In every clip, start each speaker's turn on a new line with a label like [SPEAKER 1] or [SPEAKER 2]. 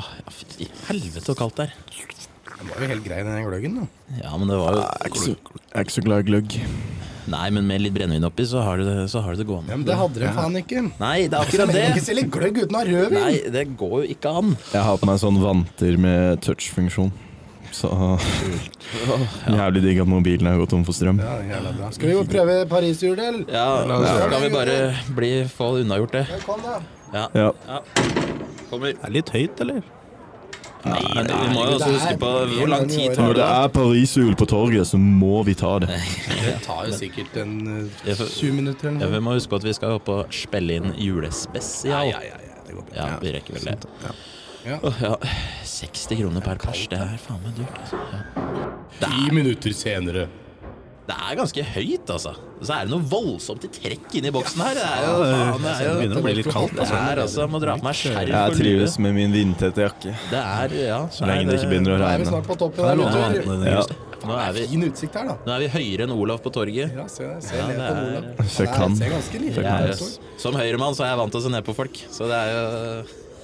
[SPEAKER 1] Ah, helvete så kaldt der.
[SPEAKER 2] Den var jo helt grei, den gløggen. da.
[SPEAKER 1] Ja, men det var jo
[SPEAKER 3] Jeg er ikke så- jeg er ikke så glad i gløgg.
[SPEAKER 1] Nei, men med litt brennevin oppi, så har du det, så har du det
[SPEAKER 2] Ja,
[SPEAKER 1] gående.
[SPEAKER 2] men det hadde de faen ikke.
[SPEAKER 1] Nei, det er
[SPEAKER 2] Så
[SPEAKER 1] akkurat
[SPEAKER 2] lenge du ikke sånn.
[SPEAKER 1] det!
[SPEAKER 2] selger gløgg uten å ha rødvin.
[SPEAKER 1] Nei, det går jo ikke an.
[SPEAKER 3] Jeg har på meg sånn vanter med touchfunksjon. Så Jævlig digg at mobilen har gått tom for strøm.
[SPEAKER 2] Ja, jævla bra. Skal vi jo prøve pariserhjul, eller?
[SPEAKER 1] Ja,
[SPEAKER 2] La oss gjøre
[SPEAKER 1] Skal vi
[SPEAKER 2] det.
[SPEAKER 1] bare bli, få unnagjort det?
[SPEAKER 2] Kom, da.
[SPEAKER 1] Ja.
[SPEAKER 3] Ja.
[SPEAKER 1] Kommer.
[SPEAKER 4] Det er litt høyt, eller?
[SPEAKER 1] Nei, vi må jo også
[SPEAKER 2] det er-
[SPEAKER 1] huske på hvor lang tid
[SPEAKER 3] Når
[SPEAKER 1] tar
[SPEAKER 3] det
[SPEAKER 1] det.
[SPEAKER 3] er pariserhjul på torget, så må vi ta det.
[SPEAKER 2] Det tar jo sikkert en
[SPEAKER 1] Ja, for-
[SPEAKER 2] 7 minutter
[SPEAKER 1] Ja,
[SPEAKER 2] eller noe.
[SPEAKER 1] vi må huske på at vi skal opp og spille inn julespesial.
[SPEAKER 2] ja, ja, det går bra.
[SPEAKER 1] Ja, vi rekker vel det.
[SPEAKER 2] Ja.
[SPEAKER 1] Åh, ja. 60 kroner per pers, det er faen meg dyrt. Altså. Ja.
[SPEAKER 2] Ti minutter senere.
[SPEAKER 1] Det er ganske høyt, altså. Så er det noe voldsomt i trekk inni boksen her. Det er jo, faen, det er
[SPEAKER 4] Det
[SPEAKER 1] jo
[SPEAKER 4] begynner å bli litt kaldt.
[SPEAKER 1] det er altså, jeg må dra på meg skjerf
[SPEAKER 3] Jeg
[SPEAKER 1] og lue.
[SPEAKER 3] trives med min vindtette jakke.
[SPEAKER 1] Det er, ja så
[SPEAKER 3] Så
[SPEAKER 1] er
[SPEAKER 3] lenge det ikke begynner å
[SPEAKER 2] Da er vi
[SPEAKER 3] regne.
[SPEAKER 2] snart på toppen.
[SPEAKER 4] Det
[SPEAKER 2] her,
[SPEAKER 4] er lov å
[SPEAKER 2] gutter.
[SPEAKER 4] vanne den
[SPEAKER 3] Ja.
[SPEAKER 4] just.
[SPEAKER 1] Nå er vi,
[SPEAKER 2] Fin utsikt her, da.
[SPEAKER 1] nå er vi høyere enn Olav på torget.
[SPEAKER 2] Ja, se, se
[SPEAKER 1] Ja, det
[SPEAKER 2] ned på
[SPEAKER 1] er-
[SPEAKER 2] Olav.
[SPEAKER 3] Hvis jeg kan.
[SPEAKER 2] Det er- ser ganske liten
[SPEAKER 1] Det
[SPEAKER 3] Ja,
[SPEAKER 1] er,
[SPEAKER 2] ut. altså. Olav.
[SPEAKER 1] som høyremann så er jeg vant til å se ned på folk, så det er jo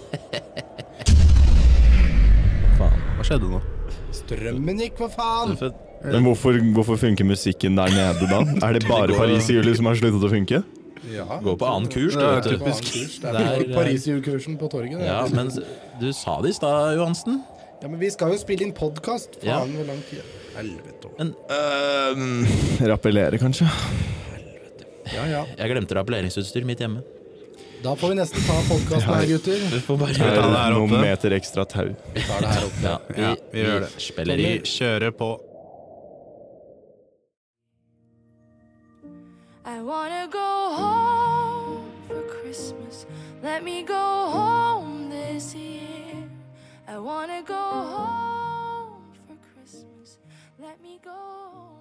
[SPEAKER 1] Faen.
[SPEAKER 4] Hva skjedde nå?
[SPEAKER 2] Strømmen gikk, for faen!
[SPEAKER 1] For-
[SPEAKER 3] Men hvorfor, hvorfor funker musikken der nede da? Er det bare pariserhjulet som har sluttet å funke?
[SPEAKER 2] Ja.
[SPEAKER 1] Gå på annen kurs, du.
[SPEAKER 4] Ja,
[SPEAKER 1] vet du.
[SPEAKER 4] typisk.
[SPEAKER 2] Typisk. Det
[SPEAKER 1] Det er-
[SPEAKER 2] er Paris-julekursen på torget. det.
[SPEAKER 1] Ja, men du sa det i stad, Johansen.
[SPEAKER 2] ja, men vi skal jo spille inn podkast.
[SPEAKER 1] Ja.
[SPEAKER 2] Faen, hvor lang tid Helvete. Olav.
[SPEAKER 3] Rappellere, kanskje?
[SPEAKER 2] Ja, ja.
[SPEAKER 1] Jeg glemte rappelleringsutstyr mitt hjemme.
[SPEAKER 2] Da får vi nesten ta podkasten her, gutter.
[SPEAKER 1] Vi får
[SPEAKER 3] Er
[SPEAKER 1] bare
[SPEAKER 4] ta det her
[SPEAKER 3] det noen
[SPEAKER 4] oppe.
[SPEAKER 3] meter ekstra tau?
[SPEAKER 2] Vi tar det her opp.
[SPEAKER 1] Ja,
[SPEAKER 4] Ja, vi gjør det.
[SPEAKER 1] spiller i
[SPEAKER 4] Vi kjører på.
[SPEAKER 5] I wanna go home for Christmas. Let me go home this year. I wanna go home for Christmas. Let me go home.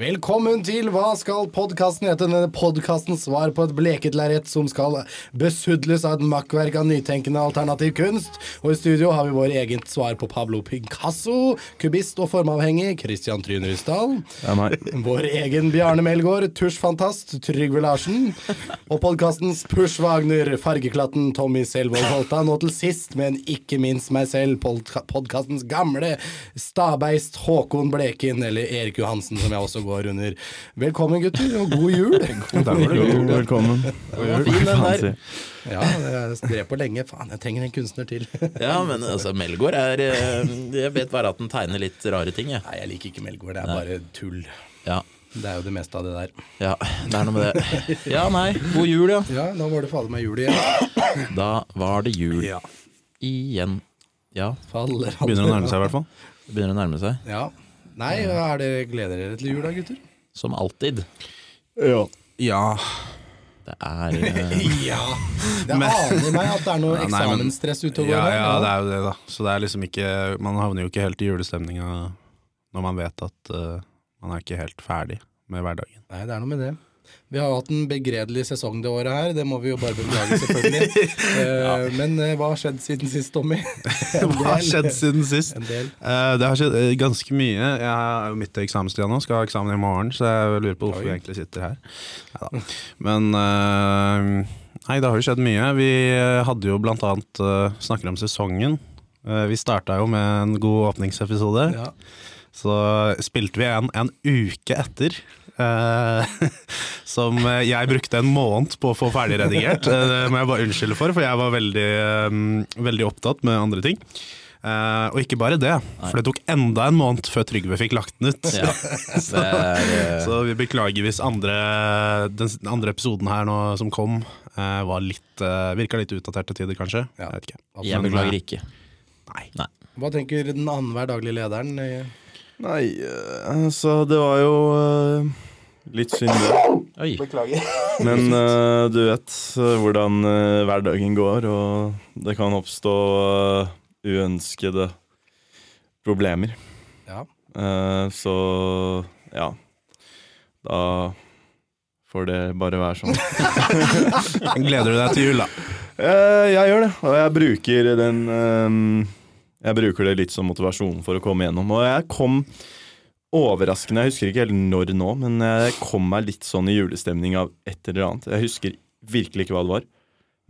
[SPEAKER 2] Velkommen til Hva skal podkasten hete? Denne podkastens svar på et bleket lerret som skal besudles av et makkverk av nytenkende alternativ kunst. Og i studio har vi vår eget svar på Pablo Picasso, kubist og formavhengig Christian Tryn Rysdal.
[SPEAKER 3] Ja, nei.
[SPEAKER 2] Vår egen Bjarne Melgaard, tusjfantast Trygve Larsen. Og podkastens Push Wagner, fargeklatten Tommy Selvold Holta. Nå til sist, men ikke minst meg selv, podkastens gamle stabeist Håkon Bleken, eller Erik Johansen, som jeg også går under. Velkommen, gutter, og god jul.
[SPEAKER 3] Jo, velkommen.
[SPEAKER 1] fin den
[SPEAKER 3] Faen,
[SPEAKER 1] der.
[SPEAKER 3] si.
[SPEAKER 2] Ja, jeg drev på lenge. Faen, jeg trenger en kunstner til.
[SPEAKER 1] Ja, men altså, Melgaard er eh, Jeg vet bare at den tegner litt rare ting, jeg.
[SPEAKER 2] Nei, jeg liker ikke Melgaard. Det er bare tull.
[SPEAKER 1] Ja.
[SPEAKER 2] Det er jo det meste av det der.
[SPEAKER 1] Ja, det er noe med det. Ja, nei. God jul, ja.
[SPEAKER 2] Ja, nå var det fader meg jul igjen.
[SPEAKER 1] Da var det jul igjen. Ja,
[SPEAKER 2] Faller han-
[SPEAKER 4] Begynner å nærme seg, i hvert fall.
[SPEAKER 1] det begynner å nærme seg.
[SPEAKER 2] Ja. Nei, er det, gleder dere til jul da, gutter?
[SPEAKER 1] Som alltid.
[SPEAKER 3] Ja.
[SPEAKER 4] Ja.
[SPEAKER 1] Det er eh,
[SPEAKER 2] Ja. Det aner meg at det er noe
[SPEAKER 4] Ja, nei, men-
[SPEAKER 2] eksamensstress ute
[SPEAKER 4] Ja,
[SPEAKER 2] og går her.
[SPEAKER 4] ja, det er jo det, da. Så det er liksom ikke Man havner jo ikke helt i julestemninga når man vet at eh, man er ikke helt ferdig med hverdagen.
[SPEAKER 2] Nei, det er noe med det. Vi har jo hatt en begredelig sesong det året her, det må vi jo bare beklage, selvfølgelig. Eh, Men eh, hva har skjedd siden sist, Tommy? En
[SPEAKER 4] Hva har
[SPEAKER 2] del.
[SPEAKER 4] skjedd siden sist?
[SPEAKER 2] En del.
[SPEAKER 4] Eh, det har skjedd eh, ganske mye. Jeg er jo midt i eksamenstida nå, skal ha eksamen i morgen, så jeg lurer på hvorfor vi egentlig sitter her. Neida. Men eh, nei, det har jo skjedd mye. Vi eh, hadde jo blant annet eh, snakker om sesongen. Eh, vi starta jo med en god åpningsepisode.
[SPEAKER 2] Ja.
[SPEAKER 4] Så spilte vi en en uke etter. eh, som eh, jeg brukte en måned på å få ferdig redigert. Eh, Det må jeg bare unnskylde for, for jeg var veldig, eh, veldig opptatt med andre ting. Eh, og ikke bare det, for det tok enda en måned før Trygve fikk lagt den ut.
[SPEAKER 1] ja, det er eh,
[SPEAKER 4] Så vi beklager hvis andre, den s- den andre episoden her nå som kom, eh, var litt, eh, virka litt utdatert til tider, kanskje.
[SPEAKER 2] Ja.
[SPEAKER 4] Jeg vet ikke.
[SPEAKER 1] Jeg
[SPEAKER 4] Men,
[SPEAKER 1] beklager
[SPEAKER 4] eh,
[SPEAKER 1] ikke.
[SPEAKER 4] Nei.
[SPEAKER 1] Nei.
[SPEAKER 2] Hva tenker den annenhver daglige lederen? eh?
[SPEAKER 3] Nei, eh, altså det var jo eh, litt synd det.
[SPEAKER 1] Oi.
[SPEAKER 3] Men eh, du vet eh, hvordan eh, hverdagen går, og det kan oppstå eh, uønskede problemer.
[SPEAKER 2] Ja.
[SPEAKER 3] Eh, så ja. Da får det bare være sånn.
[SPEAKER 4] Gleder du deg til jul, da?
[SPEAKER 3] Eh, jeg gjør det, og jeg bruker den ehm, Jeg bruker det litt som motivasjon for å komme gjennom. Og jeg kom overraskende, jeg husker ikke helt når nå, men jeg kom meg litt sånn i julestemning av et eller annet. Jeg husker virkelig ikke hva det var.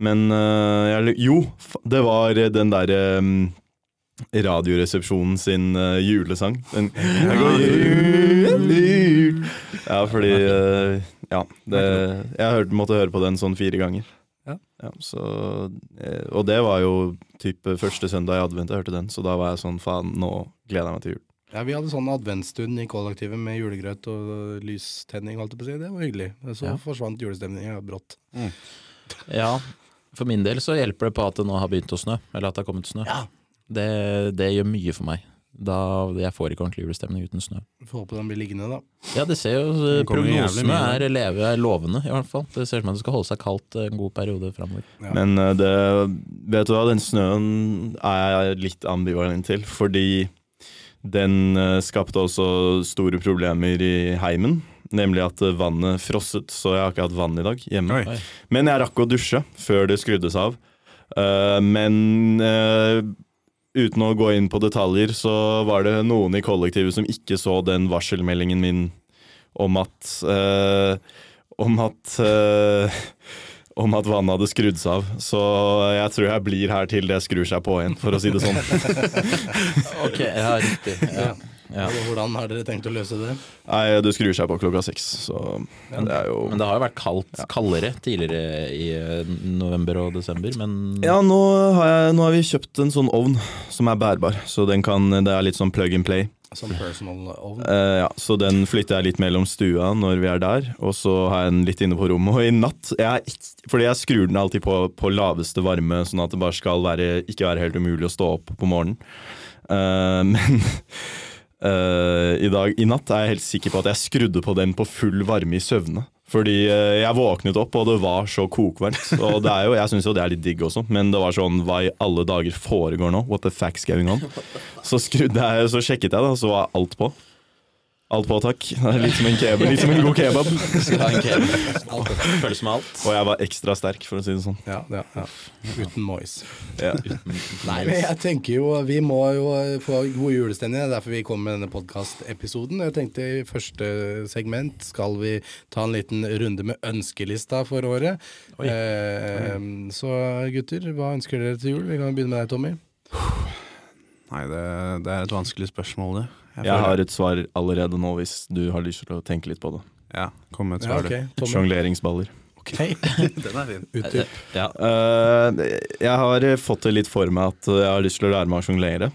[SPEAKER 3] Men eh, jeg, Jo, fa- det var den derre Radioresepsjonen sin eh, julesang. Den, jeg går jul, jul. Ja, fordi eh, Ja. Det, jeg hørte, måtte høre på den sånn fire ganger.
[SPEAKER 4] Ja.
[SPEAKER 3] så, eh, og det var jo type første søndag i advent jeg hørte den, så da var jeg sånn faen, nå gleder jeg meg til jul.
[SPEAKER 2] Ja, Vi hadde sånn adventsstund i kollektivet med julegrøt og lystenning. Holdt jeg på å si. Det var hyggelig. Så
[SPEAKER 1] Ja.
[SPEAKER 2] forsvant julestemninga brått.
[SPEAKER 1] Ja, for min del så hjelper det på at det nå har begynt å snø, eller at det har kommet snø. Det, det gjør mye for meg. Da jeg får ikke ordentlig julestemning uten snø.
[SPEAKER 2] Får håpe den blir liggende, da.
[SPEAKER 1] Ja, det ser jo
[SPEAKER 4] Det kommer jo jævlig
[SPEAKER 1] Prognosene
[SPEAKER 4] mye.
[SPEAKER 1] er, leve, er lovende, i hvert fall. Det ser ut som at det skal holde seg kaldt eh, en god periode framover.
[SPEAKER 2] Ja.
[SPEAKER 3] Men eh, det, vet du hva, den snøen er jeg litt ambivalent til, fordi den eh, skapte også store problemer i heimen. Nemlig at eh, vannet frosset, så jeg har ikke hatt vann i dag hjemme.
[SPEAKER 4] Oi.
[SPEAKER 3] Men jeg rakk å dusje før det skrudde seg av. Eh, men eh, uten å gå inn på detaljer, så var det noen i kollektivet som ikke så den varselmeldingen min om at eh, Om at eh, om at vannet hadde skrudd seg av. Så jeg tror jeg blir her til det skrur seg på igjen, for å si det sånn.
[SPEAKER 1] Ok, ja, riktig. Ja. Ja.
[SPEAKER 2] Og Hvordan har dere tenkt å løse det?
[SPEAKER 3] Nei, det skrur seg på klokka seks, så det er jo
[SPEAKER 1] Men det har jo vært kaldt, kaldere tidligere i eh, november og desember, men
[SPEAKER 3] Ja, nå har, jeg, nå har vi kjøpt en sånn ovn som er bærbar, så den kan, det er litt sånn plug and play.
[SPEAKER 2] Som personal oven?
[SPEAKER 3] Eh, ja, så den flytter jeg litt mellom stua når vi er der, og så har jeg den litt inne på rommet. Og i natt jeg, er ikk- Fordi jeg skrur den alltid på, på laveste varme, sånn at det bare skal være, ikke være helt umulig å stå opp på morgenen. Eh, men eh, i, dag, i natt er jeg helt sikker på at jeg skrudde på den på full varme i søvne. Fordi eh, jeg våknet opp, og det var så kokvarmt. Og det er jo, jeg syns jo det er litt digg også, men det var sånn Hva i alle dager foregår nå? What the fuck's going on? Så, skrudde jeg, så sjekket jeg, da, så var alt på. Alt på, takk. Det er Litt som en, kebab, litt som en god kebab.
[SPEAKER 1] Skal ha en kebab. Føles med alt.
[SPEAKER 3] Og jeg var ekstra sterk, for å si det sånn.
[SPEAKER 2] Ja, ja, ja. Uten mais.
[SPEAKER 3] Ja.
[SPEAKER 1] Nei,
[SPEAKER 2] Men jeg tenker jo, Vi må jo få god julestemning. Det er derfor vi kommer med denne podkastepisoden. Jeg tenkte i første segment skal vi ta en liten runde med ønskelista for året. Eh, så gutter, hva ønsker dere til jul? Vi kan begynne med deg, Tommy.
[SPEAKER 4] Nei, det, det er et vanskelig spørsmål, det.
[SPEAKER 3] Jeg har et svar allerede nå, hvis du har lyst til å tenke litt på det.
[SPEAKER 4] Ja, kom med et
[SPEAKER 2] Ja,
[SPEAKER 4] svar,
[SPEAKER 2] ok, Tommy.
[SPEAKER 3] Sjongleringsballer.
[SPEAKER 4] Den er fin.
[SPEAKER 2] Utdyp.
[SPEAKER 1] ja.
[SPEAKER 3] Eh, jeg har fått det litt for meg at jeg har lyst til å lære meg å sjonglere.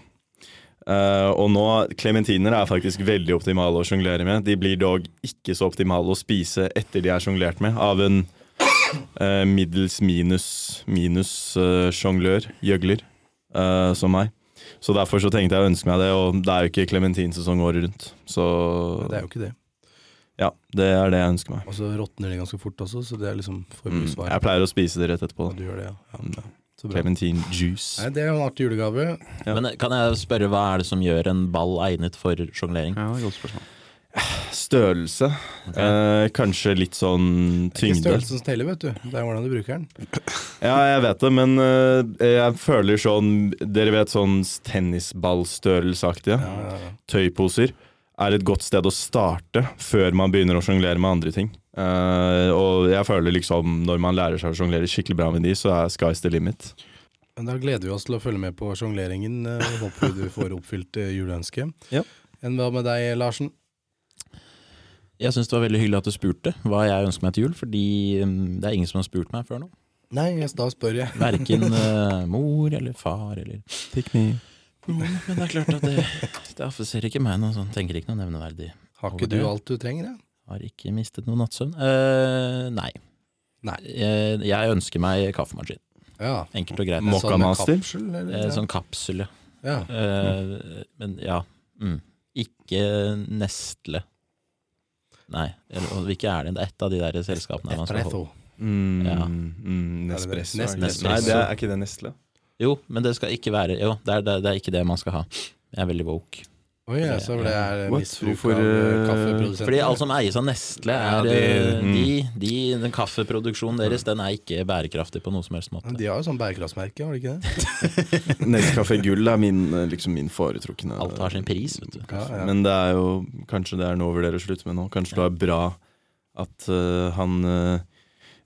[SPEAKER 3] Eh, og nå, Klementiner er faktisk veldig optimale å sjonglere med. De blir dog ikke så optimale å spise etter de er sjonglert med av en eh, middels minus minus eh, sjonglør, gjøgler, eh, som meg. Så derfor så tenkte jeg å ønske meg det, og det er jo ikke klementinsesong året rundt. Så
[SPEAKER 2] Det er jo ikke det.
[SPEAKER 3] ja, det er det jeg ønsker meg.
[SPEAKER 2] Og så råtner de ganske fort også, så det er liksom
[SPEAKER 3] Mm,
[SPEAKER 2] forbrukssvar.
[SPEAKER 3] jeg pleier å spise det rett etterpå.
[SPEAKER 2] Ja, Du gjør det, ja. ja. Så bra.
[SPEAKER 3] Klementin juice.
[SPEAKER 2] Nei, det er jo en artig julegave.
[SPEAKER 3] Ja.
[SPEAKER 1] Men kan jeg spørre hva er det som gjør en ball egnet for sjonglering?
[SPEAKER 4] Ja, det er et godt spørsmål.
[SPEAKER 3] Størrelse. Eh, kanskje litt sånn
[SPEAKER 2] Det er ikke
[SPEAKER 3] tyngde.
[SPEAKER 2] størrelsen som teller, vet du. Det er hvordan du bruker den.
[SPEAKER 3] Ja, jeg vet det, men eh, jeg føler sånn Dere vet sånn tennisballstørrelseaktige tøyposer er et godt sted å starte før man begynner å sjonglere med andre ting. Eh, og jeg føler liksom når man lærer seg å sjonglere skikkelig bra med de, så er sky's the limit.
[SPEAKER 2] Men da gleder vi oss til å følge med på sjongleringen. eh, og Håper du får oppfylt eh, juleønsket.
[SPEAKER 3] Ja.
[SPEAKER 2] Enn hva med deg, Larsen?
[SPEAKER 1] Jeg syns det var veldig hyggelig at du spurte hva jeg ønsker meg til jul, fordi mm, det er ingen som har spurt meg før nå.
[SPEAKER 2] Nei, jeg- da spør jeg.
[SPEAKER 1] Verken eh, mor eller far eller Men det er klart at det, det affiserer ikke meg noe sånt, tenker ikke noe nevneverdig.
[SPEAKER 2] Har ikke
[SPEAKER 1] Over
[SPEAKER 2] du
[SPEAKER 1] det.
[SPEAKER 2] alt du trenger, jeg?
[SPEAKER 1] Har ikke mistet noe nattsøvn. Eh, nei.
[SPEAKER 2] Nei.
[SPEAKER 1] Jeg, jeg ønsker meg kaffemaskin.
[SPEAKER 2] Ja.
[SPEAKER 1] Enkelt og greit.
[SPEAKER 3] Mokka
[SPEAKER 2] Sånn med
[SPEAKER 3] Master?
[SPEAKER 2] Kapsel, eller?
[SPEAKER 1] Eh, sånn kapsel, ja.
[SPEAKER 2] ja.
[SPEAKER 1] Eh, men ja. Mm. Ikke Nestle. Nei, eller, og hvilke er det? Det er ett av de der selskapene man skal holde.
[SPEAKER 2] Espresso.
[SPEAKER 3] Mm,
[SPEAKER 1] Ja.
[SPEAKER 3] mm, Nespresso.
[SPEAKER 2] Nes-
[SPEAKER 3] er det-
[SPEAKER 1] Nespresso.
[SPEAKER 3] Nei, det er, er ikke det Nestle?
[SPEAKER 1] Jo, men det skal ikke være Jo, det er, det, er- det er ikke det man skal ha. Jeg er veldig woke.
[SPEAKER 2] Oi, ja, så det er
[SPEAKER 3] What?
[SPEAKER 2] misbruk
[SPEAKER 3] Hvorfor,
[SPEAKER 2] av eh,
[SPEAKER 3] eh,
[SPEAKER 2] kaffeprodusenten.
[SPEAKER 1] Fordi alt som eies av Nestle,
[SPEAKER 4] Ja,
[SPEAKER 1] er
[SPEAKER 4] de-
[SPEAKER 1] eh,
[SPEAKER 3] mm.
[SPEAKER 1] de, de, Den kaffeproduksjonen deres, den er ikke bærekraftig på noen som helst måte.
[SPEAKER 2] De har jo sånn bærekraftsmerke, har de ikke det?
[SPEAKER 3] Nescafé Gull er min, eh, liksom min foretrukne
[SPEAKER 1] Alt har sin pris, vet du.
[SPEAKER 2] Ja, ja.
[SPEAKER 3] Men det er jo kanskje det er noe jeg vurderer å slutte med nå. Kanskje det er bra at eh, han eh,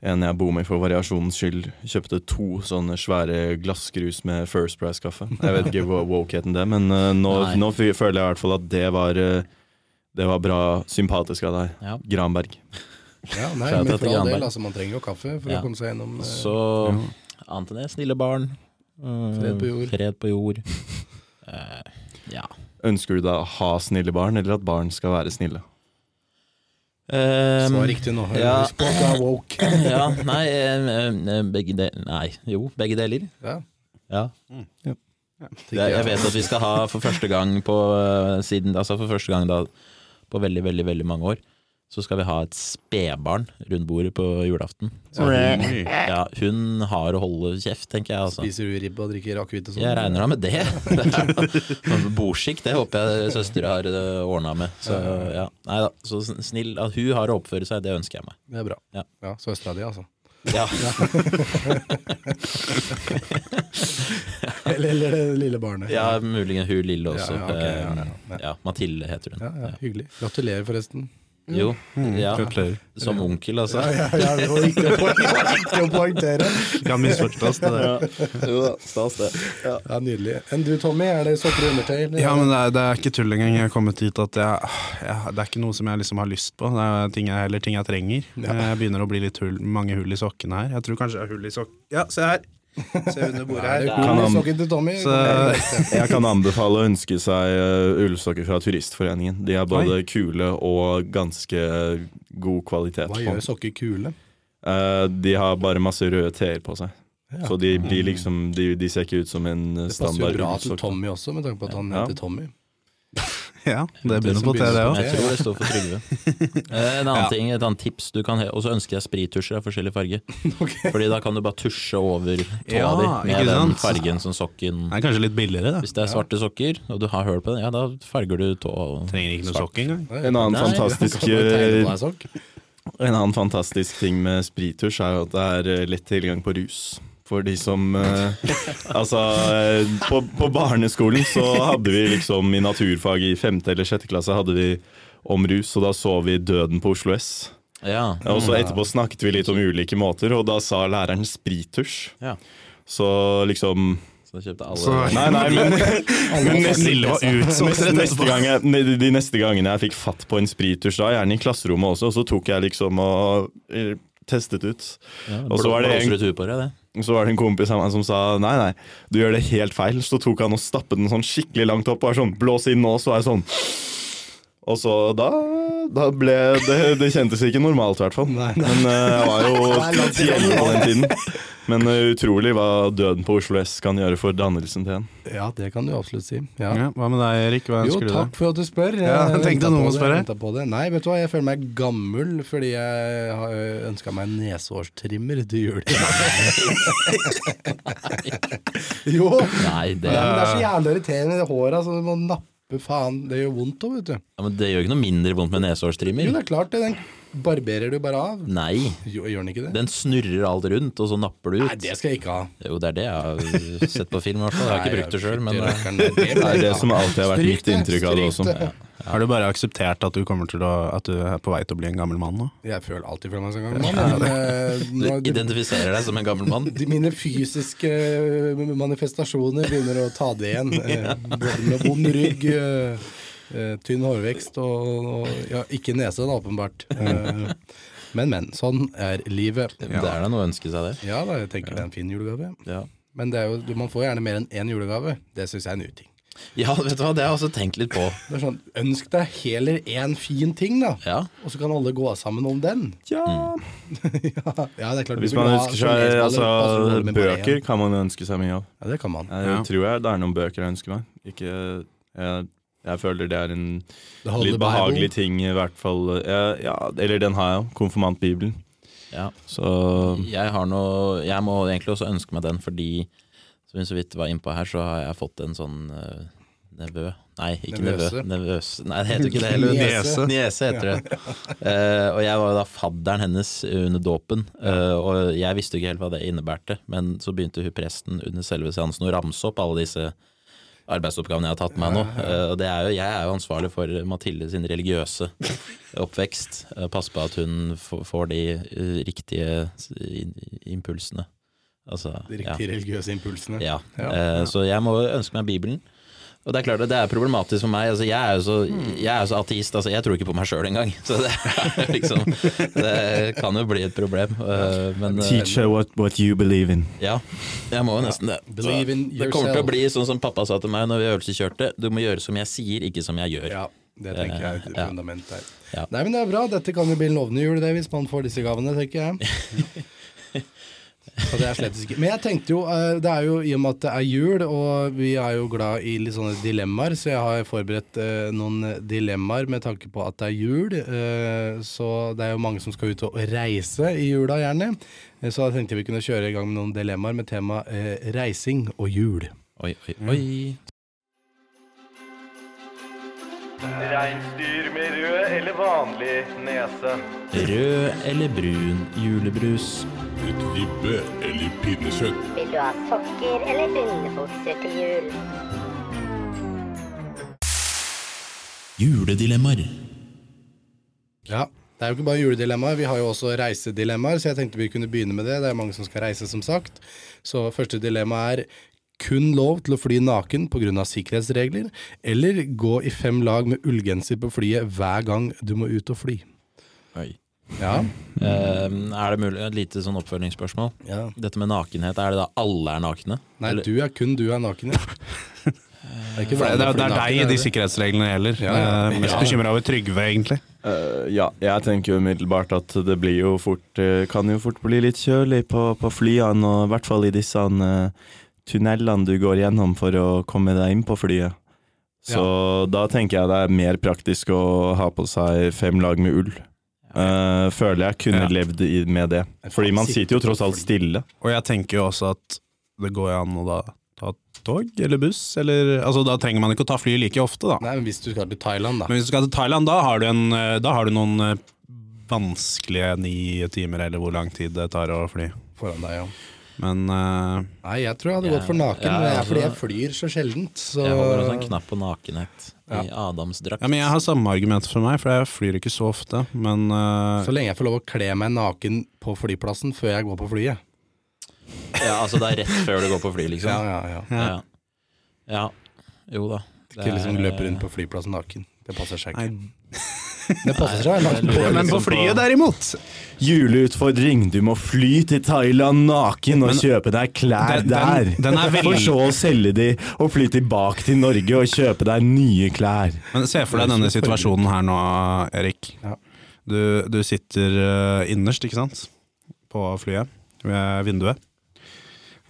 [SPEAKER 3] en jeg bor med for variasjonens skyld, kjøpte to sånne svære glasskrus med First Price-kaffe. Jeg vet ikke hvor woke het den det, men eh, nå,
[SPEAKER 1] Nei.
[SPEAKER 3] nå fy- føler jeg i hvert fall at det var eh, det var bra sympatisk av deg,
[SPEAKER 1] Ja.
[SPEAKER 3] Granberg.
[SPEAKER 2] Ja, nei,
[SPEAKER 1] Shout
[SPEAKER 2] men
[SPEAKER 1] out til
[SPEAKER 2] for all
[SPEAKER 1] Granberg.
[SPEAKER 2] del, altså, man trenger jo kaffe for
[SPEAKER 1] Ja.
[SPEAKER 2] å komme seg gjennom eh,
[SPEAKER 1] Så annet enn det, snille barn. eh,
[SPEAKER 2] Fred på jord.
[SPEAKER 1] Fred på jord. Eh, ja.
[SPEAKER 3] Ønsker du deg å ha snille barn, eller at barn skal være snille?
[SPEAKER 2] Svar
[SPEAKER 1] Um,
[SPEAKER 2] riktig nå.
[SPEAKER 1] ja.
[SPEAKER 2] Husk på at du er woke.
[SPEAKER 1] ja, nei, eh, eh, begge deler Nei, jo, begge deler.
[SPEAKER 2] Ja,
[SPEAKER 1] Ja.
[SPEAKER 2] tenker
[SPEAKER 1] Jeg, jeg vet at vi skal ha for første gang på eh, siden Altså for første gang da på veldig, veldig veldig mange år, så skal vi ha et spedbarn rundt bordet på julaften. Ja, hun har å holde kjeft, tenker jeg. altså
[SPEAKER 2] Spiser du ribbe og drikker akevitt og sånn?
[SPEAKER 1] Jeg regner da med det. det er- Bordsjikt, det håper jeg søster har ordna med. Så ja, nei da. Så snill at hun har å oppføre seg, det ønsker jeg meg.
[SPEAKER 2] Det er bra.
[SPEAKER 1] Ja.
[SPEAKER 2] Ja, Søstera di, altså.
[SPEAKER 1] Ja,
[SPEAKER 2] Eller, eller det lille barnet.
[SPEAKER 1] ja muligens hun lille også.
[SPEAKER 2] Ja, ja, ok, ja, ja, ja.
[SPEAKER 1] Eh, ja, Mathilde heter hun.
[SPEAKER 2] Ja, ja, Mm. hyggelig. Gratulerer, forresten.
[SPEAKER 1] Jo, ja.
[SPEAKER 4] Mm, Gratulerer.
[SPEAKER 1] Som onkel, altså.
[SPEAKER 2] Ja, ja, det var viktig å poeng- viktig å poengtere.
[SPEAKER 4] Kan misforstås, det der.
[SPEAKER 2] Ja, nydelig. Enn du, Tommy? Er det sokker og undertøy? eller?
[SPEAKER 4] Ja, men det er, det er ikke tull engang. Jeg har kommet hit at jeg, jeg, det er ikke noe som jeg liksom har lyst på. Det er ting jeg, heller ting jeg trenger. Eh, Jeg begynner å bli litt hull, mange hull i sokkene her. Jeg tror kanskje det er hull i sokken Ja, se her! Se under bordet
[SPEAKER 2] Er
[SPEAKER 4] her.
[SPEAKER 2] det cool
[SPEAKER 3] Kan han-
[SPEAKER 2] sokker til Tommy?
[SPEAKER 4] Så,
[SPEAKER 3] Jeg kan anbefale å ønske seg eh, ullsokker fra Turistforeningen. De er både kule og ganske god kvalitet.
[SPEAKER 2] Hva
[SPEAKER 3] på
[SPEAKER 2] gjør
[SPEAKER 3] dem.
[SPEAKER 2] sokker kule?
[SPEAKER 3] Eh, de har bare masse røde T-er på seg. Så de blir liksom De, de ser ikke ut som en
[SPEAKER 2] Det passer
[SPEAKER 3] eh,
[SPEAKER 2] jo
[SPEAKER 3] standard
[SPEAKER 2] bra til
[SPEAKER 3] ullsokk.
[SPEAKER 2] Tommy også, med tanke på at han
[SPEAKER 3] Ja.
[SPEAKER 2] heter Tommy.
[SPEAKER 4] ja, det begynner på T, det òg.
[SPEAKER 1] Jeg tror det står for Trygve. Eh, En annen ting, et annet tips. Du kan he- Og så ønsker jeg sprittusjer av forskjellig farge. Fordi da kan du bare tusje over tåa
[SPEAKER 4] Ja,
[SPEAKER 1] di med
[SPEAKER 4] ikke
[SPEAKER 1] den
[SPEAKER 4] sant?
[SPEAKER 1] fargen som sokken
[SPEAKER 4] Det er kanskje litt billigere, da.
[SPEAKER 1] Hvis det er svarte sokker, og du har hull på den, ja, da farger du tåa. og-
[SPEAKER 4] Trenger ikke noe sokk engang.
[SPEAKER 3] En annen,
[SPEAKER 1] Nei,
[SPEAKER 3] fantastisk, eh,
[SPEAKER 2] Kan du tegne på deg sokk?
[SPEAKER 3] en annen fantastisk ting med sprittusj er jo at det er eh, lett tilgang på rus. For de som eh, Altså, eh, på, på barneskolen så hadde vi liksom i naturfag i femte eller sjette klasse hadde vi om rus, og da så vi Døden på Oslo S.
[SPEAKER 1] Ja.
[SPEAKER 3] Ja, Og så etterpå snakket vi litt om ulike måter, og da sa læreren sprittusj.
[SPEAKER 1] ja.
[SPEAKER 3] Så liksom
[SPEAKER 1] Så da kjøpte
[SPEAKER 4] Så-
[SPEAKER 1] alle
[SPEAKER 3] Nei, nei, men, men neste,
[SPEAKER 4] Snille var utsolgt
[SPEAKER 3] neste,
[SPEAKER 4] rett
[SPEAKER 3] neste
[SPEAKER 4] etterpå.
[SPEAKER 3] gang jeg, ne- de neste gangene jeg fikk fatt på en sprittusj, da, gjerne i klasserommet også, så tok jeg liksom og eh, testet ut.
[SPEAKER 1] ja,
[SPEAKER 3] Og så var det en-
[SPEAKER 1] blåser ut huet på deg, det.
[SPEAKER 3] Så var det en kompis av meg som sa nei, nei, du gjør det helt feil. Så tok han og stappet den sånn skikkelig langt opp og var sånn blås inn nå, så var jeg sånn Og så da da ble det Det kjentes ikke normalt, i hvert fall.
[SPEAKER 2] Nei.
[SPEAKER 3] Men eh, jeg var jo ti elleve på den tiden. Men eh, utrolig hva døden på Oslo S kan gjøre for dannelsen til en.
[SPEAKER 2] Ja, det kan du absolutt si. Ja.
[SPEAKER 4] Ja, hva med deg, Erik? Hva
[SPEAKER 2] Jo,
[SPEAKER 4] ønsker du
[SPEAKER 2] takk
[SPEAKER 4] deg?
[SPEAKER 2] for at du spør. Jeg
[SPEAKER 4] Ja, jeg tenkte
[SPEAKER 2] ventet
[SPEAKER 4] noen
[SPEAKER 2] på
[SPEAKER 4] må
[SPEAKER 2] det,
[SPEAKER 4] spørre.
[SPEAKER 2] jeg ventet på det. Nei, vet du hva, jeg føler meg gammel fordi jeg har ønska meg en neshårstrimmer til jul. jo!
[SPEAKER 1] Nei, det,
[SPEAKER 2] Ja, men det er så
[SPEAKER 1] Eh.
[SPEAKER 2] jævlig irriterende i håra, så du må nappe faen. Det gjør vondt òg, vet du.
[SPEAKER 1] ja, men det gjør ikke noe mindre vondt med
[SPEAKER 2] Jo,
[SPEAKER 1] neshårstrimmer.
[SPEAKER 2] det er klart det. Den barberer du bare av.
[SPEAKER 1] Nei.
[SPEAKER 2] Jo, gjør den ikke det?
[SPEAKER 1] Den snurrer alt rundt, og så napper du ut.
[SPEAKER 2] Nei, det skal jeg ikke ha.
[SPEAKER 1] Jo, det er det jeg har sett på film, i hvert fall. Jeg har ikke brukt det sjøl, men eh,
[SPEAKER 2] det
[SPEAKER 3] Det er det som alltid har vært mitt inntrykk av det også.
[SPEAKER 4] Har du bare akseptert at du, kommer til å, at du er på vei til å bli en gammel mann nå?
[SPEAKER 2] Jeg føler alltid for meg som gammel mann. men, eh,
[SPEAKER 1] du
[SPEAKER 2] nå- det-
[SPEAKER 1] identifiserer deg som en gammel mann.
[SPEAKER 2] de mine fysiske eh, manifestasjoner begynner å ta det igjen. Eh, Både med vond rygg, eh, eh, tynn hårvekst og, og ja, ikke nese, da, åpenbart. Eh, Men, men. Sånn er livet.
[SPEAKER 1] Det er da noe å ønske seg, det.
[SPEAKER 2] Ja da, jeg tenker det er en fin julegave.
[SPEAKER 1] Ja.
[SPEAKER 2] Men det er jo, man får gjerne mer enn én julegave. Det syns jeg er en uting.
[SPEAKER 1] ja, vet du hva, det har jeg også tenkt litt på.
[SPEAKER 2] Det er sånn, Ønsk deg heller én fin ting, da.
[SPEAKER 1] Ja.
[SPEAKER 2] Og så kan alle gå sammen om den.
[SPEAKER 3] Ja.
[SPEAKER 2] Ja, det er klart du
[SPEAKER 3] Hvis man
[SPEAKER 2] vil ha sånn
[SPEAKER 3] ønsker
[SPEAKER 2] som
[SPEAKER 3] seg
[SPEAKER 2] regel
[SPEAKER 3] altså,
[SPEAKER 2] alle passer med bare
[SPEAKER 3] bøker,
[SPEAKER 2] én.
[SPEAKER 3] kan man ønske seg mye av.
[SPEAKER 2] Ja, det kan man.
[SPEAKER 3] Jeg
[SPEAKER 4] Ja.
[SPEAKER 3] tror jeg det er noen bøker jeg ønsker meg. Ikke, jeg, jeg føler det er en
[SPEAKER 2] The Holy
[SPEAKER 3] Litt
[SPEAKER 2] Bible.
[SPEAKER 3] behagelige ting, i hvert fall. Ja, ja, eller den har jeg jo. Konfirmantbibelen.
[SPEAKER 1] Ja.
[SPEAKER 3] Så
[SPEAKER 1] Jeg, har noe, jeg må egentlig også ønske meg den, fordi som vi så vidt var innpå her, så har jeg fått en sånn eh, nevø Nei, ikke nevø.
[SPEAKER 2] Nevøse.
[SPEAKER 1] Nevøse. Nei, det heter jo ikke det heller.
[SPEAKER 4] Niese.
[SPEAKER 1] Niese heter det. Eh, og jeg var jo da fadderen hennes under dåpen, eh, og jeg visste jo ikke helt hva det innebærte. Men så begynte hun presten under selve seansen å ramse opp alle disse arbeidsoppgaven jeg har tatt meg nå. Eh, Og det er jo, jeg er jo ansvarlig for Mathilde sin religiøse oppvekst. Eh, Passe på at hun f- får de eh, riktige s- in- impulsene. Altså,
[SPEAKER 2] De
[SPEAKER 1] ja.
[SPEAKER 2] riktige religiøse impulsene.
[SPEAKER 1] Ja.
[SPEAKER 2] Ja,
[SPEAKER 1] Eh, Så jeg må ønske meg Bibelen. Og det er klart at det er problematisk for meg. Altså, jeg er jo så,
[SPEAKER 2] Hmm.
[SPEAKER 1] jeg er jo så ateist. Altså, jeg tror ikke på meg sjøl engang. Så det, er liksom, det kan jo bli et problem. Eh, Men eh,
[SPEAKER 3] Teacher what, what you believe in.
[SPEAKER 1] ja, jeg må jo nesten det.
[SPEAKER 2] Believe in
[SPEAKER 1] Det kommer til
[SPEAKER 2] yourself.
[SPEAKER 1] å bli sånn som pappa sa til meg når vi øvelseskjørte. Du må gjøre som jeg sier, ikke som jeg gjør. Eh,
[SPEAKER 2] Ja, det tenker jeg er et
[SPEAKER 1] Ja.
[SPEAKER 2] fundament der.
[SPEAKER 1] Ja.
[SPEAKER 2] Nei, men det er bra. Dette kan jo bli en lovende jul, det, hvis man får disse gavene, tenker jeg. Så det er slett ikke. Men jeg tenkte jo, eh, det er jo i og med at det er jul, og vi er jo glad i litt sånne dilemmaer, så jeg har forberedt eh, noen dilemmaer med tanke på at det er jul. eh, Så det er jo mange som skal ut og reise i jula, gjerne. Eh, Så da tenkte jeg vi kunne kjøre i gang med noen dilemmaer med tema eh, reising og jul.
[SPEAKER 1] Oi, oi,
[SPEAKER 6] Mm.
[SPEAKER 1] oi.
[SPEAKER 6] Reinsdyr med rød eller vanlig nese?
[SPEAKER 1] Rød eller brun julebrus?
[SPEAKER 7] Et ribbe eller pinnekjøtt?
[SPEAKER 8] Vil du ha sokker eller underbukser til jul?
[SPEAKER 1] Juledilemmaer.
[SPEAKER 2] Ja, det er jo ikke bare juledilemmaer, vi har jo også reisedilemmaer, så jeg tenkte vi kunne begynne med det. Det er mange som skal reise, som sagt. Så første dilemma er kun lov til å fly naken pga. sikkerhetsregler, eller gå i fem lag med ullgenser på flyet hver gang du må ut og fly.
[SPEAKER 1] Oi.
[SPEAKER 2] Ja,
[SPEAKER 1] Eh, er det mulig, Et lite sånn oppfølgingsspørsmål.
[SPEAKER 2] ja.
[SPEAKER 1] Dette med nakenhet, er det da alle er nakne?
[SPEAKER 2] Nei,
[SPEAKER 1] Eller-
[SPEAKER 2] du er kun du er naken. ja. Det er, ikke
[SPEAKER 4] Det
[SPEAKER 2] vanlig
[SPEAKER 4] er,
[SPEAKER 2] å
[SPEAKER 4] det
[SPEAKER 2] fly
[SPEAKER 4] er
[SPEAKER 2] naken, er
[SPEAKER 4] deg de
[SPEAKER 2] det?
[SPEAKER 4] sikkerhetsreglene gjelder.
[SPEAKER 2] Ja, ja.
[SPEAKER 4] Jeg er mest bekymra over Trygve, egentlig.
[SPEAKER 3] Eh, ja, jeg tenker jo umiddelbart at det blir jo fort, eh, kan jo fort bli litt kjølig på, på flyene, og i hvert fall i disse eh, tunnelene du går gjennom for å komme deg inn på flyet. Så da tenker jeg det er mer praktisk å ha på seg fem lag med ull. Eh, føler jeg kunne
[SPEAKER 4] Ja.
[SPEAKER 3] levd i, med det. Fordi man sitter jo tross alt stille.
[SPEAKER 4] Og jeg tenker jo også at det går jo an å da ta tog eller buss, eller altså Da trenger man ikke å ta fly like ofte, da.
[SPEAKER 2] Nei, men hvis du skal til Thailand, da.
[SPEAKER 4] Men hvis du skal til Thailand, da har du, en, eh, da har du noen eh, vanskelige ni timer, eller hvor lang tid det tar å fly.
[SPEAKER 2] Foran deg, ja.
[SPEAKER 4] Men eh,
[SPEAKER 2] Nei, jeg tror jeg hadde
[SPEAKER 1] Ja.
[SPEAKER 2] gått for naken,
[SPEAKER 1] Ja,
[SPEAKER 2] men det er fordi jeg
[SPEAKER 1] altså-
[SPEAKER 2] flyr så sjeldent. Så...
[SPEAKER 1] Jeg holder også en knapp på nakenhet i Adamsdrakt.
[SPEAKER 4] ja, men jeg har samme argument for meg, for jeg flyr ikke så ofte. Men eh,
[SPEAKER 2] Så lenge jeg får lov å kle meg naken på flyplassen før jeg går på flyet.
[SPEAKER 1] Ja, altså det er rett før du går på fly, liksom.
[SPEAKER 2] Ja, ja, ja.
[SPEAKER 1] Ja, ja. jo da. Det
[SPEAKER 2] Ikke liksom
[SPEAKER 1] er- eh,
[SPEAKER 2] løpe rundt på flyplassen naken. Det passer seg ikke.
[SPEAKER 4] Nei.
[SPEAKER 2] Det passer seg. Lagt på.
[SPEAKER 4] Men på flyet, derimot!
[SPEAKER 3] Juleutfordring! Du må fly til Thailand naken og
[SPEAKER 4] Men-
[SPEAKER 3] kjøpe deg klær
[SPEAKER 4] Den- den-
[SPEAKER 3] der.
[SPEAKER 4] den er veldig-
[SPEAKER 3] For så å selge de, og fly tilbake til Norge og kjøpe deg nye klær.
[SPEAKER 4] Men se for deg denne situasjonen her nå, Erik.
[SPEAKER 2] Ja.
[SPEAKER 4] Du, du sitter eh, innerst, ikke sant? På flyet, ved vinduet.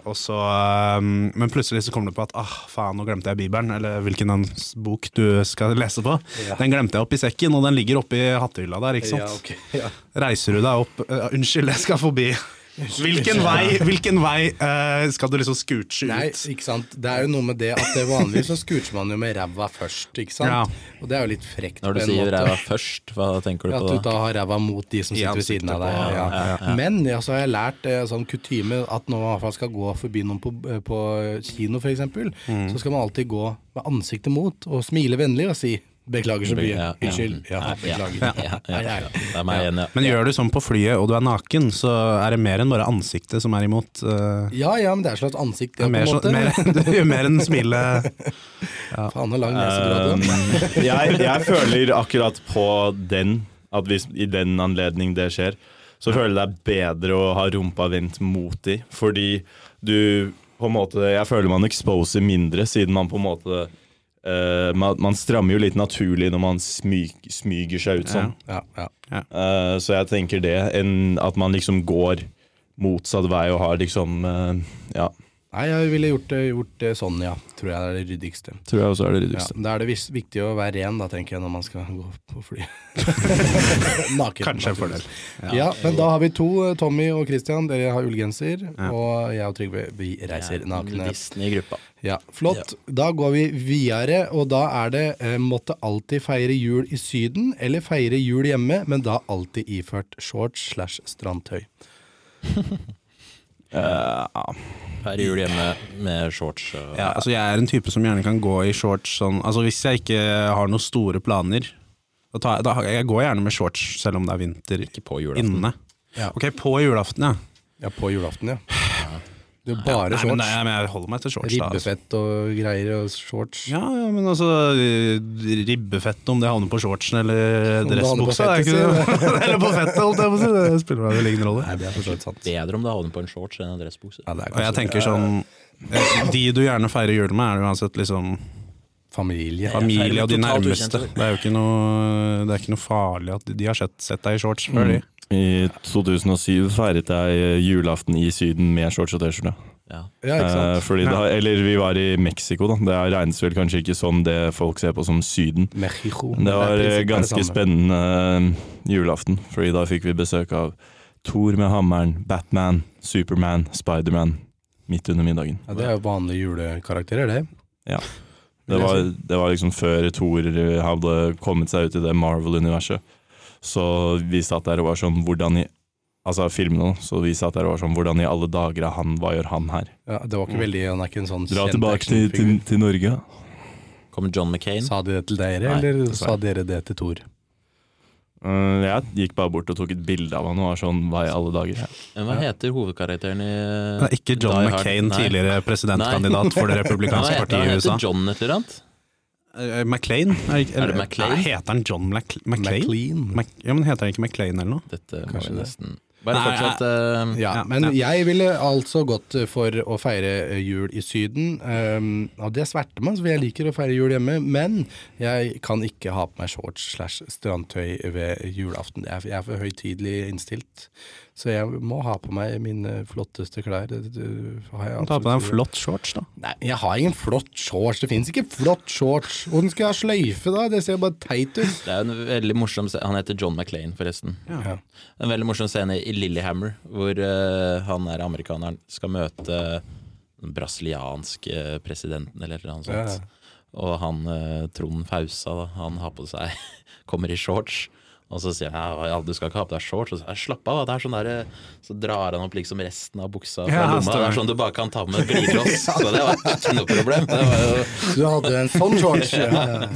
[SPEAKER 4] Og så, eh, men plutselig så kommer du på at ah, faen, nå glemte jeg Bibelen, eller hvilken den s- bok du skal lese på. Den glemte jeg oppi sekken, og den ligger oppi hattehylla der, ikke sant? Reiser du deg opp eh, Unnskyld, jeg skal forbi. Hvilken vei, hvilken vei eh, skal du liksom scooche ut?
[SPEAKER 2] Nei, ikke sant. Det er jo noe med det at det vanligvis så scoocher man jo med ræva først, ikke sant.
[SPEAKER 4] Ja.
[SPEAKER 2] Og det er jo litt frekt.
[SPEAKER 1] Når du
[SPEAKER 2] på en
[SPEAKER 1] sier
[SPEAKER 2] måte.
[SPEAKER 1] ræva først, hva tenker du
[SPEAKER 2] Ja,
[SPEAKER 1] på
[SPEAKER 2] At du
[SPEAKER 1] da?
[SPEAKER 2] da har ræva mot de som
[SPEAKER 4] I
[SPEAKER 2] sitter ved siden av deg.
[SPEAKER 4] ansiktet på-
[SPEAKER 2] Ja.
[SPEAKER 4] ja, ja,
[SPEAKER 2] Men ja, så har jeg lært eh, sånn kutyme at når man i hvert fall skal gå forbi noen på, eh, på kino f.eks., så skal man alltid gå med ansiktet mot og smile vennlig og si 'beklager så mye',
[SPEAKER 1] Ja, ja.
[SPEAKER 2] unnskyld, ja, beklager.
[SPEAKER 1] Ja, ja, ja, ja. Det er meg igjen, ja.
[SPEAKER 4] Men gjør du sånn på flyet og du er naken, så er det mer enn bare ansiktet som er imot. eh,
[SPEAKER 2] Ja ja, men det er et slags ansikt,
[SPEAKER 4] det
[SPEAKER 2] ja,
[SPEAKER 4] er
[SPEAKER 2] på
[SPEAKER 4] mer,
[SPEAKER 2] en
[SPEAKER 4] sånn,
[SPEAKER 2] måte.
[SPEAKER 4] mer, du gjør mer enn smilet.
[SPEAKER 2] Faen, så lang nesebrød du har.
[SPEAKER 3] Um, jeg, jeg føler akkurat på den, at hvis i den anledning det skjer, så føler jeg det er bedre å ha rumpa vendt mot de, fordi du på en måte, Jeg føler man exposer mindre, siden man på en måte eh, man, man strammer jo litt naturlig når man smyg, smyger seg ut sånn.
[SPEAKER 2] Ja, ja.
[SPEAKER 3] Eh, så jeg tenker det, enn at man liksom går motsatt vei og har liksom eh, Ja,
[SPEAKER 2] Nei, jeg ville gjort det, gjort det sånn, ja. Tror jeg er det ryddigste.
[SPEAKER 3] tror jeg også er det
[SPEAKER 2] Ja,
[SPEAKER 3] ryddigste.
[SPEAKER 2] da er det vis- viktig å være ren, da, tenker jeg, når man skal gå på fly. Naken.
[SPEAKER 4] Kanskje en fordel.
[SPEAKER 2] Ja. men da har vi to. eh, Tommy og Christian, dere har ullgenser. Og jeg og Trygve, vi reiser nakne.
[SPEAKER 1] Listen i gruppa.
[SPEAKER 2] Ja, Flott. Da går vi videre, og da er det eh, 'måtte alltid feire jul i Syden', eller 'feire jul hjemme', men da alltid iført shorts slash strandtøy.
[SPEAKER 1] Her i jul hjemme med shorts og
[SPEAKER 4] Ja, altså jeg er en type som gjerne kan gå i shorts sånn Altså hvis jeg ikke har noen store planer da tar jeg, da, jeg går gjerne med shorts selv om det er vinter
[SPEAKER 1] ikke på julaften.
[SPEAKER 4] inne.
[SPEAKER 2] Ja.
[SPEAKER 4] Ok, på julaften, ja.
[SPEAKER 2] Ja, på julaften, ja. Det er bare
[SPEAKER 4] Nei, men, nei,
[SPEAKER 2] shorts.
[SPEAKER 4] men jeg holder meg til shorts. da, altså.
[SPEAKER 2] Ribbefett og greier og shorts.
[SPEAKER 4] Ja, ja, men altså eh, Ribbefett, om det havner på shortsen eller
[SPEAKER 2] Om det havner på
[SPEAKER 4] dressbuksa det er
[SPEAKER 2] fettet,
[SPEAKER 4] ikke det. Eller på fettet, holdt jeg på å si. Det spiller meg vel ingen rolle.
[SPEAKER 2] Nei, det er for så vidt sant.
[SPEAKER 1] Bedre om det havner på en shorts enn en dressbukse.
[SPEAKER 2] Ja, det er
[SPEAKER 4] Og jeg
[SPEAKER 2] kanskje
[SPEAKER 4] tenker sånn eh, De du gjerne feirer jul med, er uansett liksom
[SPEAKER 2] familie.
[SPEAKER 4] familie og de
[SPEAKER 1] Totalt
[SPEAKER 4] nærmeste.
[SPEAKER 1] ukjente.
[SPEAKER 4] Det er jo ikke noe, det er ikke noe farlig at de- de har sett, sett deg i shorts før,
[SPEAKER 1] Mm.
[SPEAKER 4] de.
[SPEAKER 3] I 2007 feiret jeg julaften i Syden med shorts og T-skjorte.
[SPEAKER 1] Ja.
[SPEAKER 2] Ja, ikke
[SPEAKER 3] Eh,
[SPEAKER 2] sant?
[SPEAKER 3] fordi da, eller vi var i Mexico, da. Det regnes vel kanskje ikke som det folk ser på som Syden.
[SPEAKER 2] Mexico.
[SPEAKER 3] Det var
[SPEAKER 2] i prinsippet
[SPEAKER 3] eh,
[SPEAKER 2] det
[SPEAKER 3] ganske
[SPEAKER 2] samme.
[SPEAKER 3] spennende eh, julaften, fordi da fikk vi besøk av Thor med hammeren, Batman, Superman, Spiderman midt under middagen.
[SPEAKER 2] Ja, det er jo vanlige julekarakterer, det.
[SPEAKER 3] Det
[SPEAKER 2] vil jeg
[SPEAKER 3] var, det var liksom før Thor hadde kommet seg ut i det Marvel-universet. Så vi satt der og var sånn Hvordan i Altså filmene, da. Så vi satt der og var sånn Hvordan i alle dager er han? Hva gjør han her?
[SPEAKER 2] Ja, det var ikke veldig Han er ikke en sånn
[SPEAKER 3] Dra
[SPEAKER 2] kjent
[SPEAKER 3] tilbake til, til,
[SPEAKER 2] actionfigur.
[SPEAKER 3] til Norge.
[SPEAKER 1] Kommer John McCain.
[SPEAKER 2] Sa de det til dere,
[SPEAKER 1] Nei,
[SPEAKER 2] eller
[SPEAKER 1] dessverre.
[SPEAKER 2] sa dere det til Thor?
[SPEAKER 3] Eh, jeg gikk bare bort og tok et bilde av han og var sånn Hva i alle dager?
[SPEAKER 1] Men Hva heter hovedkarakteren i
[SPEAKER 4] Det er ikke John
[SPEAKER 1] Die Hard?
[SPEAKER 4] McCain,
[SPEAKER 1] Nei.
[SPEAKER 4] tidligere presidentkandidat for det
[SPEAKER 1] Hva
[SPEAKER 4] republikanske
[SPEAKER 1] heter han?
[SPEAKER 4] partiet i
[SPEAKER 1] Han
[SPEAKER 4] USA.
[SPEAKER 1] heter John et eller annet?
[SPEAKER 4] Eh, McLean? Er, det ikke-
[SPEAKER 1] Er det
[SPEAKER 4] eller-
[SPEAKER 1] McLean?
[SPEAKER 4] Nei, heter han John Mac McLean?
[SPEAKER 2] McLean.
[SPEAKER 4] Mac ja, men Heter han ikke McLean eller noe?
[SPEAKER 1] Dette må
[SPEAKER 2] Kanskje
[SPEAKER 1] vi
[SPEAKER 2] det.
[SPEAKER 1] nesten Bare
[SPEAKER 4] Nei,
[SPEAKER 1] fortsett. eh,
[SPEAKER 2] Ja,
[SPEAKER 4] Ja,
[SPEAKER 2] men
[SPEAKER 4] ja.
[SPEAKER 2] jeg ville altså gått for å feire eh, jul i Syden. Um, og det sverter meg, for jeg liker å feire jul hjemme. Men jeg kan ikke ha på meg shorts slash strandtøy ved julaften. Jeg er, jeg er for høytidelig innstilt. Så jeg må ha på meg mine flotteste klær. Det, det, har jeg
[SPEAKER 4] Ta på deg en
[SPEAKER 2] absolutt-
[SPEAKER 4] flott shorts, da.
[SPEAKER 2] Nei, jeg har ingen flott shorts. Det fins ikke flott shorts. Hvordan skal jeg ha sløyfe, da? Det ser bare teit ut.
[SPEAKER 1] Det er en veldig morsom se- Han heter John McClain, forresten.
[SPEAKER 2] Ja.
[SPEAKER 1] En veldig morsom scene i Lillehammer, hvor eh, han der amerikaneren skal møte den brasilianske eh, presidenten eller et eller annet
[SPEAKER 2] Ja, ja.
[SPEAKER 1] sånt. Og han eh, Trond Fausa, da, han har på seg Kommer i shorts. Og så sier han ja, du skal ikke ha på deg shorts. Og så, «Ja, slapp av, det er sånn der, eh», så drar han opp liksom resten av buksa fra
[SPEAKER 4] Ja,
[SPEAKER 1] lomma. Det er
[SPEAKER 4] stemmer.
[SPEAKER 1] sånn du bare kan ta med et glidelås. Så det var ikke noe problem. Det var jo
[SPEAKER 2] Du hadde en sånn shorts. Ja, ja, ja.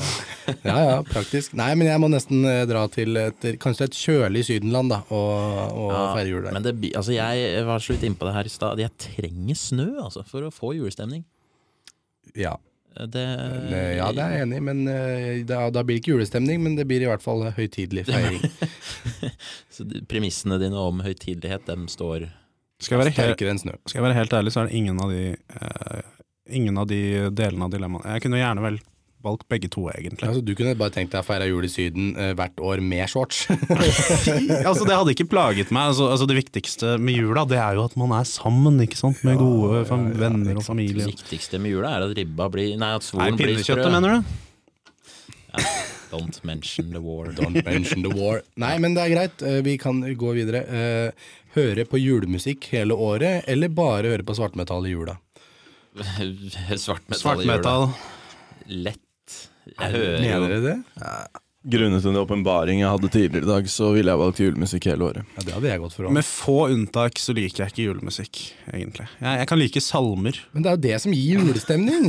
[SPEAKER 2] ja, ja praktisk. Nei, men jeg må nesten eh, dra til et, kanskje et kjølig Sydenland da, og, og feire jul der.
[SPEAKER 1] Men det, bi- altså jeg var så vidt inne på det her i stad. Jeg trenger snø altså, for å få julestemning.
[SPEAKER 2] Ja.
[SPEAKER 1] Det,
[SPEAKER 2] Eh, ja, det er jeg enig i, men eh, da, da blir det ikke julestemning, men det blir i hvert fall høytidelig feiring.
[SPEAKER 1] så de- Premissene dine om høytidelighet, dem står
[SPEAKER 4] Skal jeg, være helt,
[SPEAKER 2] Sterkere enn snø.
[SPEAKER 4] skal jeg være helt ærlig, så er det ingen av de eh, Ingen av de delene av dilemmaene Jeg kunne gjerne vel valgt begge to, egentlig.
[SPEAKER 2] Altså, du kunne bare tenkt deg å feire jul i Syden eh, hvert år med shorts.
[SPEAKER 4] Altså, det hadde ikke plaget meg. Altså, altså, det viktigste med jula, det er jo at man er sammen, ikke sant? Med gode fam venner og
[SPEAKER 1] Det
[SPEAKER 4] familie.
[SPEAKER 1] viktigste med jula, er at ribba blir Nei, at
[SPEAKER 4] Nei,
[SPEAKER 1] svoren blir sprø.
[SPEAKER 4] pinnekjøttet, mener du?
[SPEAKER 1] Don't mention the war.
[SPEAKER 2] Don't mention the war. Nei, men det er greit. Eh, Vi kan gå videre. Eh, Høre på julemusikk hele året, eller bare høre på svartmetall i jula?
[SPEAKER 1] Svartmetall. i jula.
[SPEAKER 4] Svartmetall.
[SPEAKER 1] Lett. Jeg hører
[SPEAKER 2] Mener
[SPEAKER 1] jo
[SPEAKER 2] dere det?
[SPEAKER 3] Grunnet til en åpenbaring jeg hadde tidligere i dag, så ville jeg valgt julemusikk hele året.
[SPEAKER 2] Ja, det hadde jeg gått for. Også.
[SPEAKER 4] Med få unntak så liker jeg ikke julemusikk, egentlig. Jeg, jeg kan like salmer.
[SPEAKER 2] Men det er jo det som gir julestemning.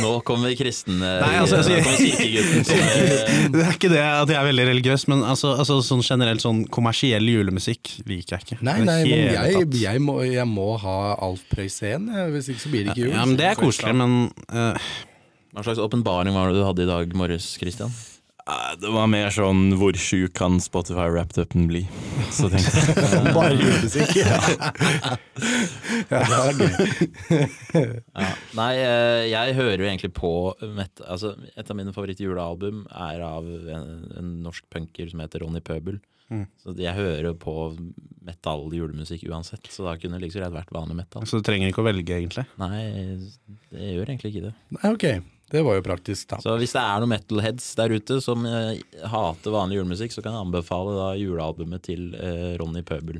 [SPEAKER 1] Nå kommer kristne
[SPEAKER 4] Nei, altså, altså,
[SPEAKER 1] Nå kommer kirkegutten som eh,
[SPEAKER 4] Det er ikke det at jeg er veldig religiøs, men altså, altså sånn generelt sånn kommersiell julemusikk liker jeg ikke.
[SPEAKER 2] Nei,
[SPEAKER 4] I det
[SPEAKER 2] nei, men
[SPEAKER 4] hele
[SPEAKER 2] jeg,
[SPEAKER 4] tatt.
[SPEAKER 2] jeg, må, jeg må ha Alf Prøysen, jeg, eh, hvis ikke så blir det ikke jul.
[SPEAKER 4] Ja, men Det er koselig, men eh,
[SPEAKER 1] Hva slags åpenbaring var det du hadde i dag morges, Christian?
[SPEAKER 3] Nei, Det var mer sånn hvor sjuk kan Spotify-wrapped-upen bli? Så tenkte jeg
[SPEAKER 2] Bare julemusikk. Ja. Ja, det er gøy.
[SPEAKER 1] Ja. Nei, eh, jeg hører jo egentlig på met altså, Et av mine favorittjulealbum er av en, en norsk punker som heter Ronny Pøbel. Så jeg hører jo på metall julemusikk uansett, så da kunne det like så greit vært vanlig metall.
[SPEAKER 4] Så du trenger ikke å velge, egentlig.
[SPEAKER 1] Nei, det gjør egentlig ikke det.
[SPEAKER 2] Nei, ok. Det var jo praktisk, da.
[SPEAKER 1] Så hvis det er noen metalheads der ute som eh, hater vanlig julemusikk, så kan jeg anbefale da julealbumet til eh, Ronny Pøbel.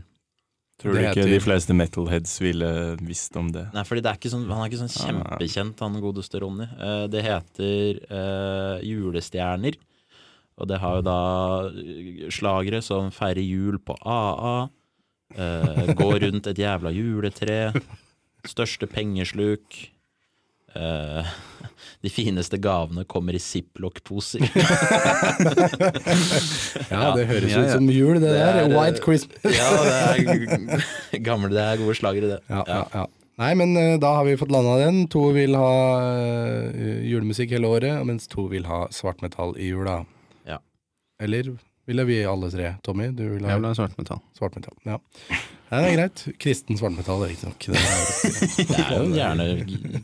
[SPEAKER 3] Tror du
[SPEAKER 2] Det
[SPEAKER 3] ikke
[SPEAKER 2] heter-
[SPEAKER 3] de fleste metalheads ville visst om det?
[SPEAKER 1] Nei, fordi det er ikke sånn, Han er ikke sånn kjempekjent, han godeste Ronny. Eh, det heter eh, Julestjerner. Og det har jo da eh, slagere som Feirer jul på AA, Eh, gå rundt et jævla juletre. Største pengesluk. Eh, de fineste gavene kommer i ziplock-poser.
[SPEAKER 2] Ja, det høres
[SPEAKER 1] ja,
[SPEAKER 2] ut
[SPEAKER 1] ja.
[SPEAKER 2] som jul, det, der.
[SPEAKER 1] er, eh,
[SPEAKER 2] White Christmas.
[SPEAKER 1] Ja, det er gamle, det er gode slagere, det.
[SPEAKER 2] Ja, ja, ja. Nei, men eh, da har vi fått landa den. To vil ha eh, julemusikk hele året, mens to vil ha svartmetall i jula.
[SPEAKER 1] Ja.
[SPEAKER 2] Eller ville vi alle tre? Tommy, du vil ha
[SPEAKER 4] Jeg vil ha svartmetall.
[SPEAKER 2] svartmetall. Ja. ja, det er greit. Kristen svartmetall, riktignok. Det er-
[SPEAKER 1] Det er jo gjerne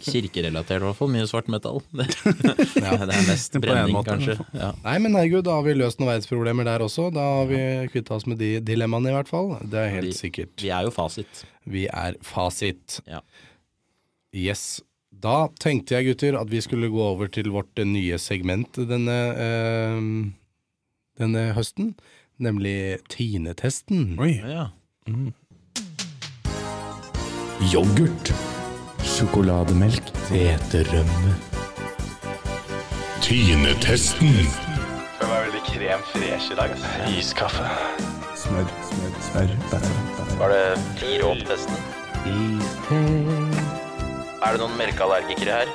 [SPEAKER 1] kirkerelatert, i hvert fall. Mye svart metall. Det, det er mest
[SPEAKER 4] en
[SPEAKER 1] brenning,
[SPEAKER 4] måte, i
[SPEAKER 1] kanskje.
[SPEAKER 4] hvert
[SPEAKER 1] Ja.
[SPEAKER 2] Nei, men herregud, da har vi løst noen verdensproblemer der også. Da har vi kvitta oss med de dilemmaene, i hvert fall. Det er helt sikkert.
[SPEAKER 1] Vi er jo fasit.
[SPEAKER 2] Vi er fasit.
[SPEAKER 1] Ja.
[SPEAKER 2] Yes. Da tenkte jeg, gutter, at vi skulle gå over til vårt eh, nye segment denne, eh, denne høsten. Nemlig tinetesten.
[SPEAKER 4] Oi.
[SPEAKER 1] Ja.
[SPEAKER 2] Yoghurt. Sjokolademelk. Hveterømme.
[SPEAKER 7] Tinetesten.
[SPEAKER 6] Skal være veldig krem fresh i dag. ass. Iskaffe.
[SPEAKER 1] Var det råtesten? Er det noen melkeallergikere her?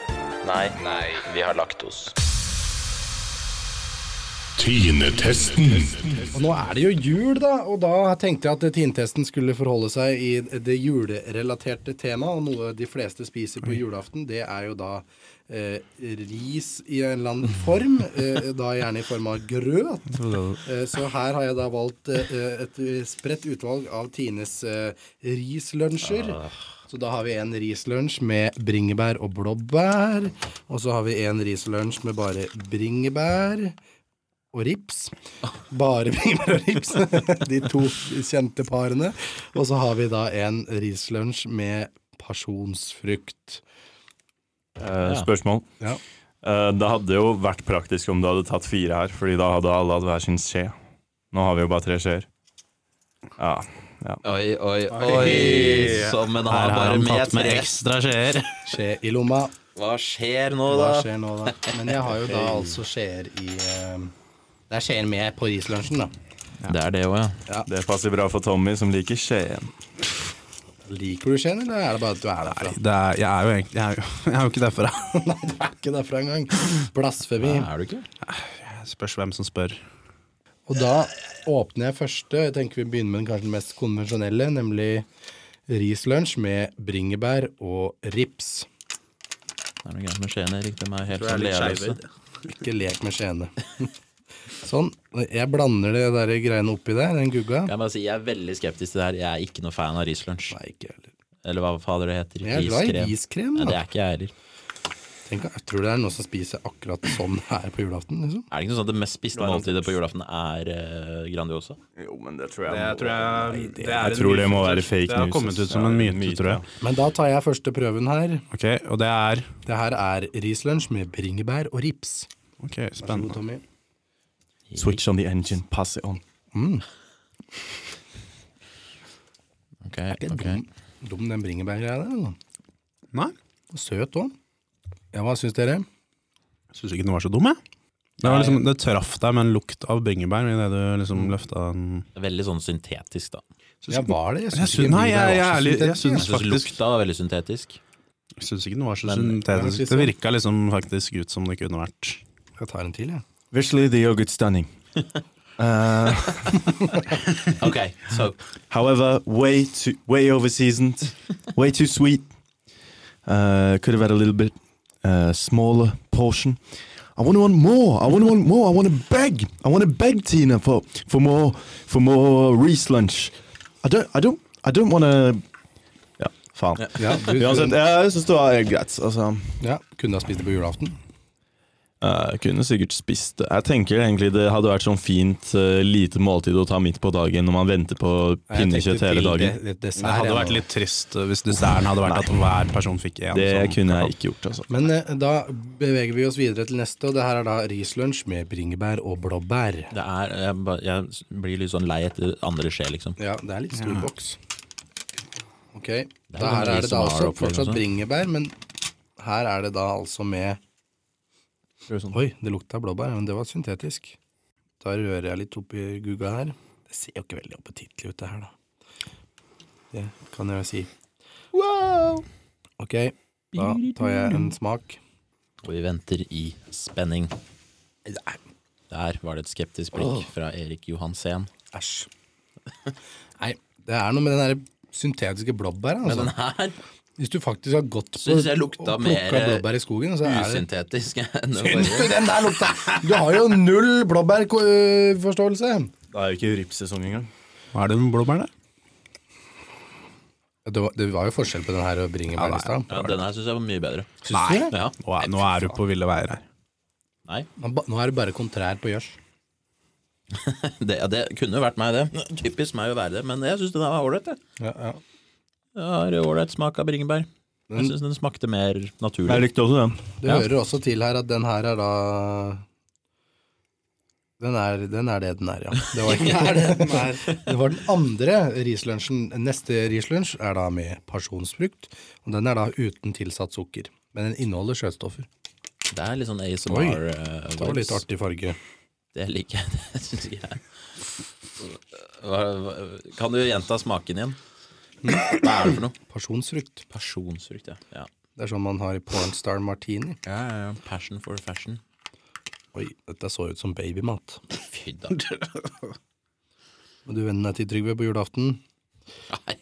[SPEAKER 1] Nei. Nei. Vi har laktos.
[SPEAKER 7] Tinetesten.
[SPEAKER 2] Og nå er det jo jul, da, og da tenkte jeg at tinetesten skulle forholde seg i det julerelaterte temaet, og noe de fleste spiser på julaften, det er jo da eh, ris i en eller annen form, eh, da gjerne i form av grøt. Eh, så her har jeg da valgt eh, et spredt utvalg av Tines eh, rislunsjer. Så da har vi en rislunsj med bringebær og blåbær, og så har vi en rislunsj med bare bringebær og rips. Bare bringebær og rips. De to kjente parene. Og så har vi da en rislunsj med pasjonsfrukt.
[SPEAKER 3] Eh, Spørsmål.
[SPEAKER 2] Ja.
[SPEAKER 3] Eh, det hadde jo vært praktisk om du hadde tatt fire her, Fordi da hadde alle hatt hver sin skje. Nå har vi jo bare tre skjeer. Ja.
[SPEAKER 1] Oi, oi, oi. Som en
[SPEAKER 4] Her
[SPEAKER 1] har
[SPEAKER 4] har
[SPEAKER 1] bare
[SPEAKER 4] han
[SPEAKER 1] med
[SPEAKER 4] tatt med
[SPEAKER 1] tre.
[SPEAKER 4] ekstra skjeer.
[SPEAKER 2] Skje i lomma.
[SPEAKER 1] Hva skjer nå,
[SPEAKER 2] Hva
[SPEAKER 1] da?
[SPEAKER 2] skjer nå, da? Men jeg har jo da altså skjeer i eh, Det er skjeer med på rislunsjen, da.
[SPEAKER 1] Det er det òg, ja.
[SPEAKER 3] Det passer bra for Tommy, som liker skjeen.
[SPEAKER 2] Liker du skjeen, eller er det bare at du er derfra?
[SPEAKER 4] Det er, jeg, er jo egentlig, jeg, er jo, jeg er jo ikke derfra.
[SPEAKER 2] Nei, du er ikke derfra engang. Blasfemi.
[SPEAKER 1] Er du ikke?
[SPEAKER 4] Spørs hvem som spør.
[SPEAKER 2] Og da åpner jeg første. Jeg tenker vi begynner med den kanskje mest konvensjonelle, nemlig rislunsj med bringebær og rips.
[SPEAKER 1] Det er noe gærent med skjeen, Erik. De er helt sånn ledeløse.
[SPEAKER 2] Ikke lek med skjeene. Sånn. Jeg blander det der greiene oppi der, den gugga.
[SPEAKER 1] Jeg må si, jeg er veldig skeptisk til det her. Jeg er ikke noe fan av rislunsj.
[SPEAKER 2] Nei, ikke heller.
[SPEAKER 1] Eller hva fader det heter.
[SPEAKER 2] Jeg er glad i riskrem,
[SPEAKER 1] Nei, det
[SPEAKER 2] da.
[SPEAKER 1] er ikke jeg heller.
[SPEAKER 2] Tenk, jeg tror det er noen som spiser akkurat sånn her på julaften, liksom.
[SPEAKER 1] Er det ikke noe sånn at det mest spiste måltidet på julaften er eh, Grandiosa?
[SPEAKER 3] Jo, men det tror jeg
[SPEAKER 4] jeg,
[SPEAKER 3] Jeg tror det må være fake news.
[SPEAKER 4] Det har kommet ut som en myte, tror jeg.
[SPEAKER 2] Men da tar jeg første prøven her.
[SPEAKER 4] Ok, Og det er
[SPEAKER 2] Det her er rislunsj med bringebær og rips.
[SPEAKER 4] Ok,
[SPEAKER 2] Vær så god,
[SPEAKER 4] spennende.
[SPEAKER 2] Tommy.
[SPEAKER 3] Switch on the engine, pass it on.
[SPEAKER 1] Ok, ok.
[SPEAKER 2] Dum, dum den bringebærgreia der. eller?
[SPEAKER 4] Nei,
[SPEAKER 2] Søt òg. Ja, hva syns dere?
[SPEAKER 4] syns ikke den var så dum, jeg. Det, var liksom, det traff deg med en lukt av bringebær idet du liksom løfta den
[SPEAKER 1] Veldig sånn syntetisk, da.
[SPEAKER 2] Ja, var det?
[SPEAKER 4] Jeg syns- nei, jeg- jeg er ærlig, jeg
[SPEAKER 1] Jeg
[SPEAKER 4] syns-
[SPEAKER 1] syns
[SPEAKER 4] Faktisk.
[SPEAKER 1] lukta var veldig syntetisk.
[SPEAKER 4] Jeg syns ikke den var så
[SPEAKER 1] Men-
[SPEAKER 4] syntetisk. Det virka liksom faktisk ut som det kunne vært.
[SPEAKER 2] Jeg tar en til, jeg.
[SPEAKER 3] Visually the yogurt stunning. Uh,
[SPEAKER 1] Ok, så
[SPEAKER 3] however, way too way over seasoned, way too sweet. Uh, could have had a little bit uh, smaller portion. I want to want more. I want to want more. I want to beg. I want to beg Tina for for more for more Reese lunch. I don't. I don't. I don't want to. Ja, faen.
[SPEAKER 2] Ja, du,
[SPEAKER 3] Uansett, jeg syns det var greit. Altså.
[SPEAKER 2] ja, kunne ha spist det på julaften.
[SPEAKER 3] Jeg kunne sikkert spist det. Jeg tenker egentlig det hadde vært sånn fint eh, lite måltid å ta midt på dagen når man venter på
[SPEAKER 2] Jeg tenkte
[SPEAKER 3] pinnekjøtt hele
[SPEAKER 2] til
[SPEAKER 3] dagen.
[SPEAKER 2] det- det- dessert,
[SPEAKER 4] Det hadde
[SPEAKER 2] jeg
[SPEAKER 4] vært
[SPEAKER 2] nå.
[SPEAKER 4] litt trist hvis desserten hadde vært at hver person fikk én.
[SPEAKER 3] Det
[SPEAKER 4] sånn.
[SPEAKER 3] kunne jeg ikke gjort, altså.
[SPEAKER 2] Men eh, da beveger vi oss videre til neste, og det her er da rislunsj med bringebær og blåbær.
[SPEAKER 1] det er jeg, ba- jeg blir litt sånn lei etter andre skje, liksom.
[SPEAKER 2] Ja, det er litt stor boks. Ok,
[SPEAKER 1] er
[SPEAKER 2] da
[SPEAKER 1] vel
[SPEAKER 2] her
[SPEAKER 1] de
[SPEAKER 2] er det
[SPEAKER 1] som
[SPEAKER 2] da
[SPEAKER 1] har
[SPEAKER 2] også
[SPEAKER 1] opplegg
[SPEAKER 2] fortsatt
[SPEAKER 1] også.
[SPEAKER 2] bringebær, men her er det da altså med Oi, det lukta blåbær, men det var syntetisk. Da rører jeg litt oppi gugga her. Det ser jo ikke veldig appetittlig ut, det her, da. Det kan jeg si. Ok, da tar jeg en smak.
[SPEAKER 1] Og vi venter i spenning. Der var det et skeptisk blikk fra Erik Johansen.
[SPEAKER 2] Æsj. Nei, det er noe med den der syntetiske blåbæret.
[SPEAKER 1] Men
[SPEAKER 2] Altså.
[SPEAKER 1] den her
[SPEAKER 2] Hvis du faktisk har gått på
[SPEAKER 1] Synes jeg lukta
[SPEAKER 2] og
[SPEAKER 1] mer, eh,
[SPEAKER 2] plukket blåbær i skogen, så er det
[SPEAKER 1] usyntetisk enn den
[SPEAKER 2] Syns du
[SPEAKER 1] forrige.
[SPEAKER 2] den der lukta? Du har jo null blåbærforståelse.
[SPEAKER 3] Det er jo ikke ripssesong engang.
[SPEAKER 4] Hva er det med blåbærene?
[SPEAKER 2] Det, var- det var jo forskjell på den her og bringebær i stad.
[SPEAKER 1] Ja, den her syns jeg var mye bedre.
[SPEAKER 2] Syns du det?
[SPEAKER 1] Ja.
[SPEAKER 4] Nå er, nå er du på ville veier her.
[SPEAKER 1] Nei,
[SPEAKER 2] Nå ba- Nå er det bare kontrær på gjørs.
[SPEAKER 1] det, ja, det kunne jo vært meg, det. Typisk meg å være det, men jeg syns den her var ålreit. jeg.
[SPEAKER 2] Ja, ja.
[SPEAKER 1] Det har ålreit smak av bringebær. Jeg syns den smakte mer
[SPEAKER 3] Jeg
[SPEAKER 1] naturlig.
[SPEAKER 3] likte også den.
[SPEAKER 2] Det
[SPEAKER 1] Ja.
[SPEAKER 2] hører også til her at den her er da den er, den er det den er, ja. Det var, ikke, det var den andre rislunsjen. Neste rislunsj er da med pasjonsfrukt, og den er da uten tilsatt sukker. Men den inneholder sjøstoffer.
[SPEAKER 1] Det er litt sånn
[SPEAKER 2] Oi,
[SPEAKER 1] ASMR. eh,
[SPEAKER 2] Det var litt
[SPEAKER 1] vibes.
[SPEAKER 2] artig farge.
[SPEAKER 1] Det liker jeg. Det syns ikke jeg. Hva, hva, kan du gjenta smaken igjen? Hva er det for noe?
[SPEAKER 2] Pasjonsfrukt.
[SPEAKER 1] Pasjonsfrukt, ja. ja.
[SPEAKER 2] Det er sånn man har i Pornstar Martini.
[SPEAKER 1] Passion for fashion.
[SPEAKER 2] Oi, dette så ut som babymat.
[SPEAKER 1] Fy da.
[SPEAKER 2] Og du venner deg til Trygve på julaften.
[SPEAKER 1] Nei.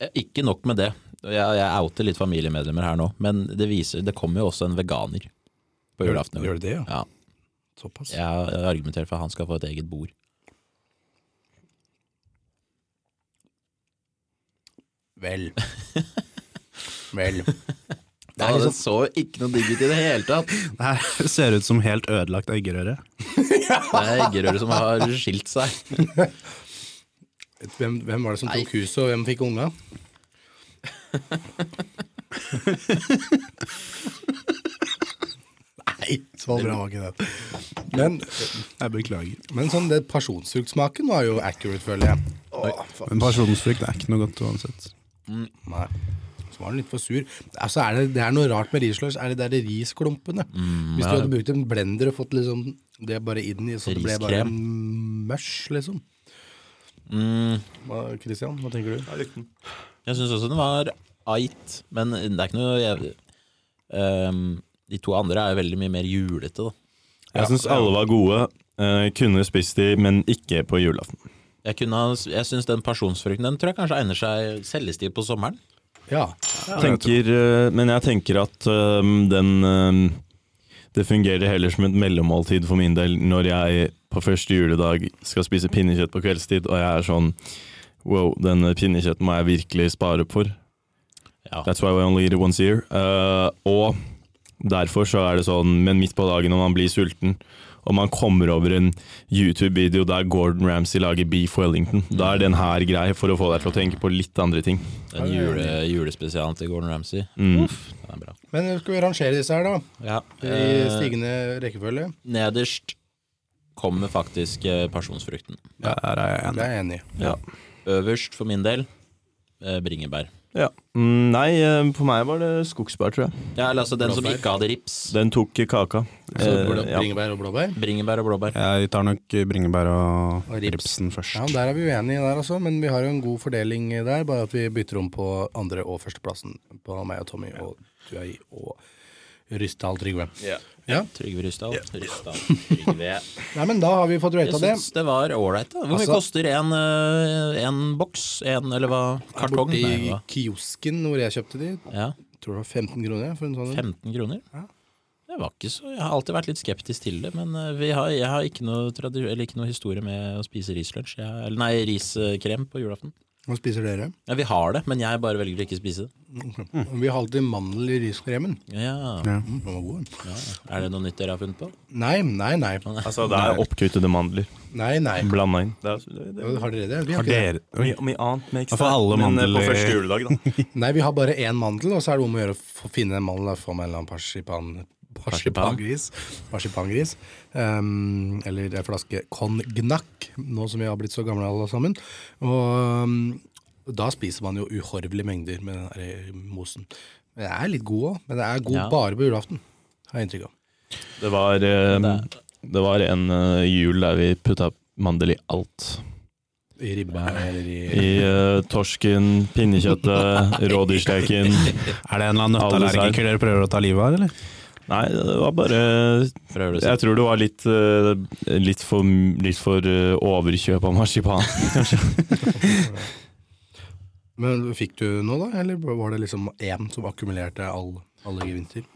[SPEAKER 1] Eh, Ikke nok med det. Jeg, jeg outer litt familiemedlemmer her nå, men det viser Det kommer jo også en veganer på julaften. i år.
[SPEAKER 2] Gjør det det, ja?
[SPEAKER 1] Ja,
[SPEAKER 2] Såpass.
[SPEAKER 1] jeg har argumentert for at han skal få et eget bord.
[SPEAKER 2] Vel. Vel.
[SPEAKER 1] Det er liksom så ikke noe digg ut i det hele tatt.
[SPEAKER 4] Det her ser ut som helt ødelagt eggerøre.
[SPEAKER 1] Det er eggerøret som har skilt seg.
[SPEAKER 2] Hvem, hvem var det som tok huset, og hvem fikk unga? Nei, så bra var ikke det. Men,
[SPEAKER 4] Jeg beklager.
[SPEAKER 2] men sånn, det pasjonsfruktsmaken var jo accurate, føler jeg. Åh, faen.
[SPEAKER 4] Men pasjonsfrukt er ikke noe godt uansett.
[SPEAKER 2] Nei. Så var den litt for sur. Altså, er det, det er noe rart med risløs. Er det der det risklumpene? Hvis du hadde brukt en blender og fått liksom det bare inn i, så det ble bare mush, liksom. Hva, Christian, hva tenker du?
[SPEAKER 1] Jeg syns også den var eit, men det er ikke noe jeg, Ehm, De to andre er jo veldig mye mer julete, da.
[SPEAKER 3] Jeg syns alle var gode. Eh, kunne spist de, men ikke på julaften.
[SPEAKER 1] Jeg, kunne ha- jeg syns den pasjonsfrukten den tror jeg kanskje egner seg selvestiv på sommeren.
[SPEAKER 2] Ja.
[SPEAKER 3] tenker, eh, men jeg tenker at eh, den eh, Det fungerer heller som et mellommåltid for min del når jeg på første juledag skal spise pinnekjøtt på kveldstid, og jeg er sånn Wow, den pinnekjøtten må jeg virkelig spare for.
[SPEAKER 1] Ja.
[SPEAKER 3] That's why we only eat it once a year. Eh, og derfor så er det sånn, men midt på dagen når man blir sulten, og man kommer over en YouTube-video der Gordon Ramsay lager beef Wellington, da er den her grei for å få deg til å tenke på litt andre ting. Mm.
[SPEAKER 1] Den jule, julespesialen til Gordon Ramsay. Uff, den er bra.
[SPEAKER 2] Men skal vi rangere disse her, da?
[SPEAKER 1] Ja.
[SPEAKER 2] I
[SPEAKER 1] Eh,
[SPEAKER 2] stigende rekkefølge.
[SPEAKER 1] nederst kommer faktisk eh, pasjonsfrukten.
[SPEAKER 4] Der er jeg
[SPEAKER 2] Det
[SPEAKER 4] enig.
[SPEAKER 2] er jeg enig i.
[SPEAKER 1] Øverst for min del eh, bringebær.
[SPEAKER 3] Ja. Mm, nei, eh, for meg var det skogsbær, tror jeg.
[SPEAKER 1] Ja, eller altså den som ikke hadde rips.
[SPEAKER 3] Den tok kaka.
[SPEAKER 2] Så
[SPEAKER 3] Eh,
[SPEAKER 2] blå-
[SPEAKER 3] ja.
[SPEAKER 2] Bringebær og blåbær.
[SPEAKER 1] Bringebær og blåbær.
[SPEAKER 4] Jeg tar nok bringebær og,
[SPEAKER 2] Og rips.
[SPEAKER 4] ripsen først.
[SPEAKER 2] Ja, Der er vi uenige der også, men vi har jo en god fordeling der. Bare at vi bytter om på andre- og førsteplassen på meg og Tommy og Tuai og Ryssdal Trygve. Ja.
[SPEAKER 1] Trygve Rysdal. Rysdal. Trygve.
[SPEAKER 2] Nei, men da har vi fått
[SPEAKER 1] Jeg
[SPEAKER 2] rata det.
[SPEAKER 1] syns det var ålreit. da. Hvor mye
[SPEAKER 2] Altså-
[SPEAKER 1] koster en, eh, en boks? En, eller hva? Kartong?
[SPEAKER 2] Borte
[SPEAKER 1] Nei,
[SPEAKER 2] i
[SPEAKER 1] hva?
[SPEAKER 2] kiosken hvor jeg kjøpte de.
[SPEAKER 1] Ja,
[SPEAKER 2] Tror det var 15 kroner for en sånn. en.
[SPEAKER 1] 15 kroner? Det var ikke så, Jeg har alltid vært litt skeptisk til det, men eh, vi har, jeg har ikke noe, tradi- eller ikke noe historie med å spise rislunsj. Jeg har- Eller nei, riskrem på julaften.
[SPEAKER 2] Hva spiser dere?
[SPEAKER 1] Ja, Vi har det, men jeg bare velger å ikke spise det.
[SPEAKER 2] Vi har alltid mandel i riskremen.
[SPEAKER 1] Ja,
[SPEAKER 2] Mm, den var god. den.
[SPEAKER 1] Er det noe nytt dere har funnet på?
[SPEAKER 2] Nei, nei, nei.
[SPEAKER 3] Altså, det er oppkuttede mandler
[SPEAKER 2] Nei, nei.
[SPEAKER 3] blanda inn. Det er, det, det,
[SPEAKER 2] Har dere det? Vi
[SPEAKER 4] Har
[SPEAKER 2] ikke det.
[SPEAKER 4] dere Oi,
[SPEAKER 3] Mye annet makes
[SPEAKER 4] Ja, for alle
[SPEAKER 3] sense, men, eh,
[SPEAKER 4] mandler-
[SPEAKER 3] på første juledag, da.
[SPEAKER 2] Nei, vi har bare én mandel, og så er det om å gjøre å få- finne en mandel og få meg en eller annen parsipan... Parsipangris. Parsipangris. Um, eller en flaske cognac, nå som vi har blitt så gamle alle sammen. Og um, da spiser man jo uhorvelige mengder med den der eh, mosen. Men Den er litt god òg, men den er god
[SPEAKER 1] Ja.
[SPEAKER 2] bare på julaften, har jeg inntrykk av.
[SPEAKER 3] Det var, eh, det var en eh, jul der vi putta mandel i alt.
[SPEAKER 2] I ribba eller i
[SPEAKER 3] I eh, torsken, pinnekjøttet, rådyrsteken
[SPEAKER 4] Er det en eller annen
[SPEAKER 3] Alle
[SPEAKER 4] nøtteallergiker dere prøver å ta livet av, eller?
[SPEAKER 3] Nei, det var bare
[SPEAKER 1] Prøver du å sånn. si.
[SPEAKER 3] Jeg tror det var litt, eh, litt for, litt for eh, overkjøp av marsipan.
[SPEAKER 2] Men fikk du noe, da? Eller var det liksom én som akkumulerte all, alle gevinster?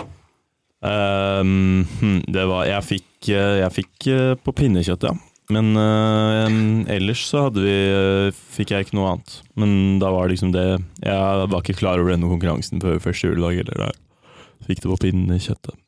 [SPEAKER 3] Ehm, hm, det var Jeg fikk, eh, jeg fikk eh, på pinnekjøttet, ja. Men eh, em, ellers så hadde vi eh, fikk jeg ikke noe annet. Men da var liksom det Jeg var ikke klar over denne konkurransen før første juledag. Eller da fikk det på pinnekjøttet.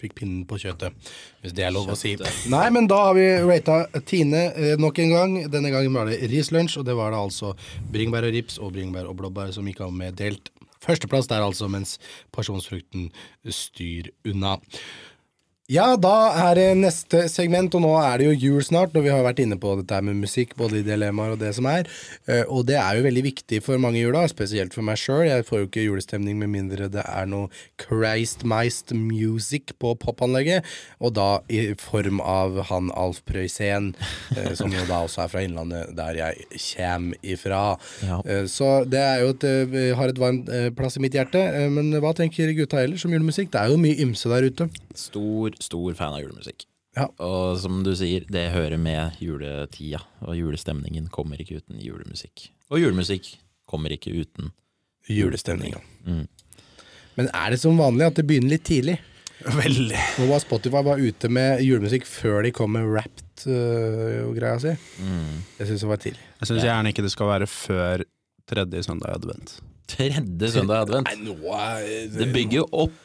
[SPEAKER 2] Fikk pinnen på kjøttet, hvis det er lov å si. Nei, men da har vi rata Tine eh, nok en gang. Denne gangen var det rislunsj, og det var da altså bringebær og rips og bringebær og blåbær som gikk av med delt førsteplass der, altså, mens pasjonsfrukten styr unna. Ja, da er det neste segment, og nå er det jo jul snart, og vi har vært inne på dette her med musikk, både i dilemmaer og det som er, Eh, og det er jo veldig viktig for mange i jula, spesielt for meg sjøl. Jeg får jo ikke julestemning med mindre det er noe Christ-meist music på popanlegget, og da i form av han Alf Prøysen, eh, som jo da også er fra Innlandet, der jeg kjem ifra.
[SPEAKER 1] Ja.
[SPEAKER 2] Eh, Så det er jo et, eh, har et varmt eh, plass i mitt hjerte, eh, men hva tenker gutta ellers om julemusikk? Det er jo mye ymse der ute.
[SPEAKER 1] Stor, stor fan av julemusikk.
[SPEAKER 2] Ja.
[SPEAKER 1] Og som du sier, det hører med juletida. Og julestemningen kommer ikke uten julemusikk. Og julemusikk kommer ikke uten
[SPEAKER 2] Julestemninga.
[SPEAKER 1] Mm.
[SPEAKER 2] Men er det som vanlig at det begynner litt tidlig?
[SPEAKER 4] Veldig.
[SPEAKER 2] Nå var Spotify var ute med julemusikk før de kom med Wrapped øh, og greia si.
[SPEAKER 1] Mm.
[SPEAKER 2] Jeg syns det var tidlig.
[SPEAKER 4] Jeg syns gjerne ikke det skal være før tredje søndag i advent.
[SPEAKER 1] tredje søndag i advent.
[SPEAKER 2] nå
[SPEAKER 1] Det bygger jo opp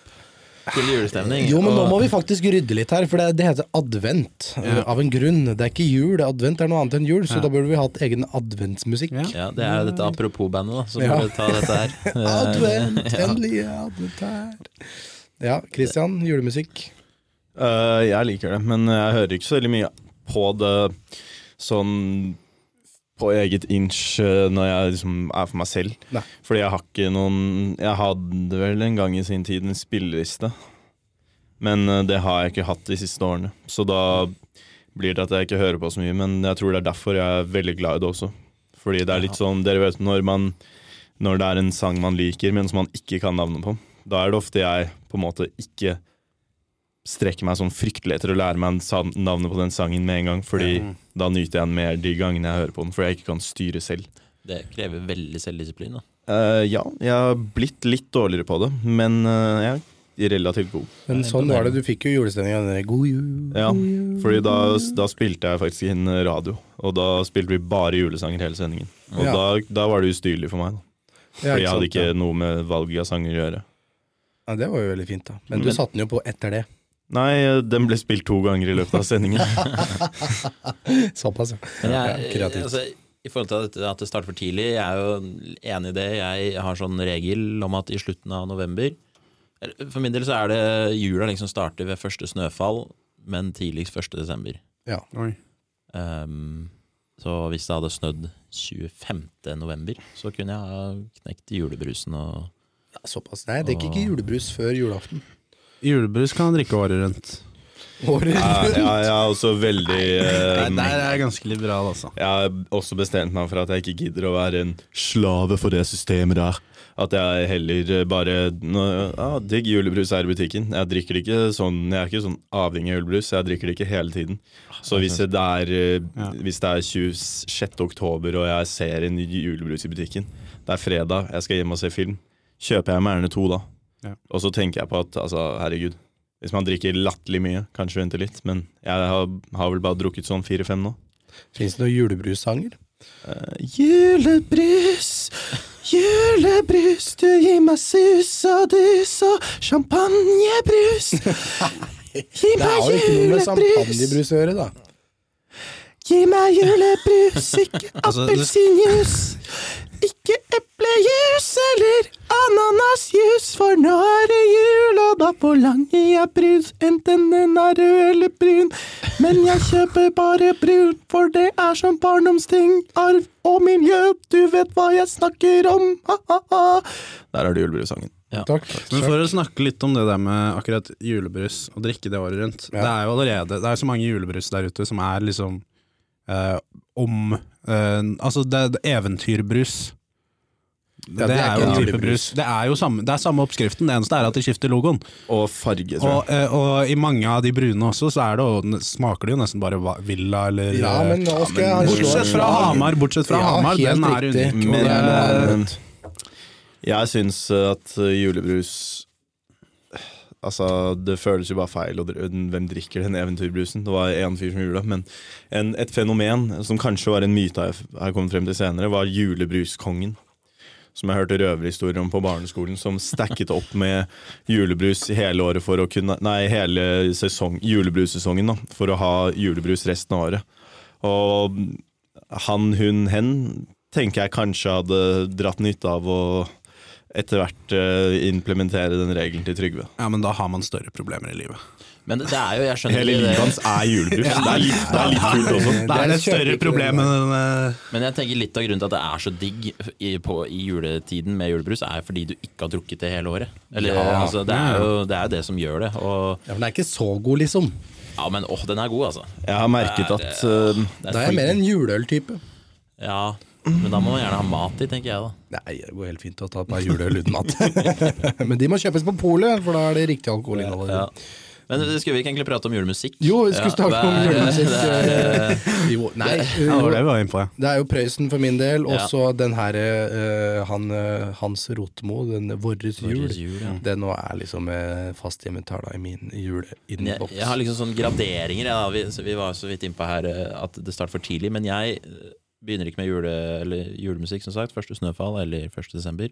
[SPEAKER 1] til julestemning.
[SPEAKER 2] Jo, men nå
[SPEAKER 1] og-
[SPEAKER 2] må vi faktisk rydde litt her, for det, det heter advent øh, av en grunn. Det er ikke jul, advent er noe annet enn jul, så da burde vi hatt egen adventsmusikk.
[SPEAKER 4] Ja.
[SPEAKER 1] Ja, det er jo dette apropos-bandet, da. Så
[SPEAKER 2] Ja.
[SPEAKER 1] får vi ta dette her.
[SPEAKER 2] Advent, endelig er advent her. Ja, Christian, julemusikk.
[SPEAKER 3] Eh, jeg liker det, men jeg hører ikke så veldig mye på det sånn på eget inch eh, når jeg liksom er for meg selv.
[SPEAKER 2] Nei.
[SPEAKER 3] Fordi jeg har ikke noen Jeg hadde vel en gang i sin tid en spilleliste, men eh, det har jeg ikke hatt de siste årene. Så da blir det at jeg ikke hører på så mye, men jeg tror det er derfor jeg er veldig glad i det også. Fordi det er litt sånn, dere vet når man Når det er en sang man liker, men som man ikke kan navnet på, da er det ofte jeg på en måte ikke strekker meg sånn fryktelig etter å lære meg en sam- navnet på den sangen med en gang, fordi da nyter jeg den mer de gangene jeg hører på den, fordi jeg ikke kan styre selv.
[SPEAKER 1] Det krever veldig selvdisiplin. da
[SPEAKER 3] Eh, ja, jeg har blitt litt dårligere på det, men eh, jeg er relativt god.
[SPEAKER 2] Men sånn var det, du fikk jo julestemninga av den der God jul.
[SPEAKER 3] Ja, fordi da, da spilte jeg faktisk inn radio, og da spilte vi bare julesanger hele sendingen. Og
[SPEAKER 2] Ja.
[SPEAKER 3] da, da var det ustyrlig for meg, da.
[SPEAKER 2] Ja, ikke
[SPEAKER 3] fordi jeg hadde
[SPEAKER 2] sant,
[SPEAKER 3] ikke noe med valget av sanger å gjøre.
[SPEAKER 2] Ja, det var jo veldig fint, da. Men du
[SPEAKER 1] Men-
[SPEAKER 2] satte den jo på etter det.
[SPEAKER 3] Nei, eh, den ble spilt to ganger i løpet av sendingen.
[SPEAKER 2] Såpass, ja.
[SPEAKER 1] Men jeg,
[SPEAKER 2] Ja, kreativt.
[SPEAKER 1] altså, I forhold til dette at det starter for tidlig, jeg er jo enig i det. Jeg har sånn regel om at i slutten av november eller, For min del så er det jula liksom starter ved første snøfall, men tidligst 1. desember.
[SPEAKER 2] Ja.
[SPEAKER 1] Ehm, så hvis det hadde snødd 25. november, så kunne jeg ha knekt julebrusen og
[SPEAKER 2] Ja, Såpass. Nei, jeg drikker ikke julebrus før julaften.
[SPEAKER 4] Julebrus kan man drikke året rundt.
[SPEAKER 2] Året
[SPEAKER 3] Ja,
[SPEAKER 2] rundt.
[SPEAKER 3] jeg, jeg er også veldig eh,
[SPEAKER 4] Nei, der er jeg ganske liberal, altså.
[SPEAKER 3] Jeg har også bestemt meg for at jeg ikke gidder å være en slave for det systemet der. At jeg heller bare nå, ja, Digg julebrus her i butikken. Jeg drikker det ikke sånn Jeg er ikke sånn avhengig av julebrus. Jeg drikker det ikke hele tiden. Så hvis det er, eh, hvis det er 26. oktober og jeg ser en julebrus i butikken Det er fredag, jeg skal hjem og se film. Kjøper jeg meg gjerne to da.
[SPEAKER 4] Ja.
[SPEAKER 3] Og så tenker jeg på at altså, herregud Hvis man drikker latterlig mye, kanskje venter litt, men jeg har, har vel bare drukket sånn fire-fem nå.
[SPEAKER 2] Fins det noen julebrussanger?
[SPEAKER 3] Julebrus, julebrus, du gir meg sus og dus og champagnebrus. Gi
[SPEAKER 2] Det har jo ikke noe med champagnebrus å gjøre, da.
[SPEAKER 3] gi meg julebrus, ikke
[SPEAKER 4] Altså, det-
[SPEAKER 3] Ikke eplejus eller ananasjus, for nå er det jul, og da forlanger jeg brus, enten den er rød eller brun. Men jeg kjøper bare brun, for det er som barndomsting, arv og miljø, du vet hva jeg snakker om, ha-ha-ha. Der er det julebrussangen.
[SPEAKER 2] Takk.
[SPEAKER 4] Men for å snakke litt om det der med akkurat julebrus og drikke det året rundt. Det er jo allerede Det er så mange julebrus der ute som er liksom eh, om eh, Altså, det, det eventyrbrus. det,
[SPEAKER 9] det er ikke
[SPEAKER 4] er, jo en
[SPEAKER 9] en
[SPEAKER 4] type brus. Det er jo samme, det er samme oppskriften, det eneste er at de skifter logoen.
[SPEAKER 3] Og farge, tror jeg.
[SPEAKER 4] Og, eh, og i mange av de brune også, så er det, jo- smaker det jo nesten bare va- Villa eller
[SPEAKER 9] Ja,
[SPEAKER 4] eh,
[SPEAKER 9] men nå skal
[SPEAKER 3] Ja,
[SPEAKER 9] jeg
[SPEAKER 3] men-
[SPEAKER 9] slå
[SPEAKER 4] Bortsett
[SPEAKER 9] et
[SPEAKER 4] fra
[SPEAKER 9] slag.
[SPEAKER 4] Hamar, bortsett fra
[SPEAKER 9] Ja,
[SPEAKER 4] Hamar,
[SPEAKER 9] helt
[SPEAKER 4] den er
[SPEAKER 9] riktig.
[SPEAKER 4] unik. eh,
[SPEAKER 3] Men
[SPEAKER 4] Og det er,
[SPEAKER 3] jeg syns at uh, julebrus Altså, det føles jo bare feil, og dr- hvem drikker den eventyrbrusen? Det var én fyr som gjorde det, men en, et fenomen som kanskje var en myte jeg, f- jeg kom frem til senere, var julebruskongen. Som jeg hørte røverhistorier om på barneskolen, som stacket opp med julebrus i hele året for å kunne Nei, hele sesong, julebrussesongen, da, for å ha julebrus resten av året. Og han, hun, hen tenker jeg kanskje hadde dratt nytte av å etter hvert eh, implementere den regelen til Trygve.
[SPEAKER 4] ja, men da har man større problemer i livet.
[SPEAKER 1] Men det, det er jo, jeg skjønner
[SPEAKER 3] Hele livet
[SPEAKER 1] ikke det.
[SPEAKER 3] hans er julebrus. Det er litt, det er litt kult også.
[SPEAKER 4] Det er et større problem enn eh,
[SPEAKER 1] Men jeg tenker litt av grunnen til at det er så digg i, på, i juletiden med julebrus, er fordi du ikke har drukket det hele året. Eller, altså, det, er jo, det er jo det som gjør det. Og,
[SPEAKER 9] Ja, for den er ikke så god, liksom.
[SPEAKER 1] ja, men åh, den er god, altså.
[SPEAKER 3] Jeg har merket at eh,
[SPEAKER 1] Det
[SPEAKER 9] Da er jeg mer en juleøltype.
[SPEAKER 1] Ja, men da må man gjerne ha mat i, tenker jeg da.
[SPEAKER 9] Nei, det går helt fint å ta et par juleøl uten mat. Men de må kjøpes på polet, for da er det riktig alkoholinnhold. i
[SPEAKER 1] Ja.
[SPEAKER 9] dem.
[SPEAKER 1] Men skulle vi ikke egentlig prate om julemusikk?
[SPEAKER 9] Jo, vi skulle snakke om
[SPEAKER 1] det er-
[SPEAKER 9] julemusikk.
[SPEAKER 1] det er-
[SPEAKER 9] eh, Jo, nei,
[SPEAKER 4] Ja, det var
[SPEAKER 9] jo,
[SPEAKER 4] det vi var inne på, ja.
[SPEAKER 9] det er jo Prøysen for min del, og
[SPEAKER 1] Ja.
[SPEAKER 9] så den her eh, han, eh, Hans Rotmo, den Vårres jul.
[SPEAKER 1] Vårres jul, ja.
[SPEAKER 9] Det nå er liksom eh, fast hjemmetala i min
[SPEAKER 1] Jeg,
[SPEAKER 9] juleinnboks.
[SPEAKER 1] jeg har liksom sånne graderinger. jeg, da. Vi, så vi var så vidt innpå her eh, at det starter for tidlig. Men jeg eh, begynner ikke med jule, eller julemusikk, som sagt. Første snøfall eller 1. desember.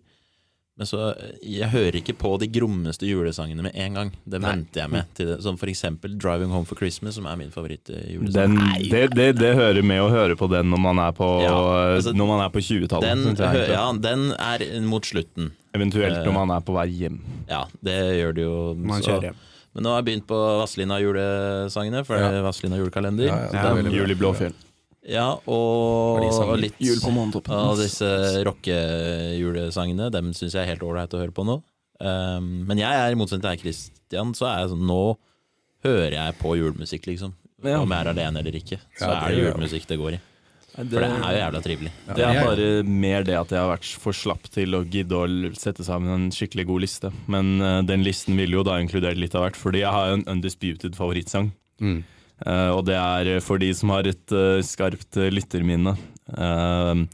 [SPEAKER 1] Men så eh, Jeg hører ikke på de grommeste julesangene med en gang. Det venter jeg med. Til det. Som for eksempel 'Driving Home for Christmas', som er min eh, favorittjulesang.
[SPEAKER 3] den, det, det, det hører med å høre på den når man er på,
[SPEAKER 1] Ja, altså,
[SPEAKER 3] eh, når man er på
[SPEAKER 1] Den,
[SPEAKER 3] 20-tallet. synes
[SPEAKER 1] hø-
[SPEAKER 3] jeg egentlig.
[SPEAKER 1] ja, Eh, den er mot slutten.
[SPEAKER 3] Eventuelt når man er på vei hjem.
[SPEAKER 1] Ja, det gjør det jo.
[SPEAKER 4] Man
[SPEAKER 1] så-
[SPEAKER 4] kjører hjem.
[SPEAKER 1] Men nå har jeg begynt på Vazelina-julesangene, for det er Vazelina julekalender.
[SPEAKER 9] Ja, ja, det er
[SPEAKER 1] Den-
[SPEAKER 9] veldig bra.
[SPEAKER 3] Jul i Blåfjell.
[SPEAKER 1] Ja, og, og litt
[SPEAKER 3] Jul på månetoppen.
[SPEAKER 1] Og disse rockejulesangene, dem syns jeg er helt ålreit å høre på nå. Um, men jeg er i motsetning til deg, Christian, så er jeg sånn Nå hører jeg på julemusikk, liksom. Om jeg er alene eller ikke, så
[SPEAKER 9] Ja,
[SPEAKER 1] er
[SPEAKER 9] det
[SPEAKER 1] det
[SPEAKER 9] gjør jeg.
[SPEAKER 1] julemusikk det går i. For det er jo jævla trivelig.
[SPEAKER 3] Det er bare mer det at jeg har vært for slapp til å gidde å l- sette sammen en skikkelig god liste. Men eh, den listen ville jo da inkludert litt av hvert, fordi jeg har jo en undisputed favorittsang. Eh, og det er eh, for de som har et eh, skarpt eh, lytterminne. Uh,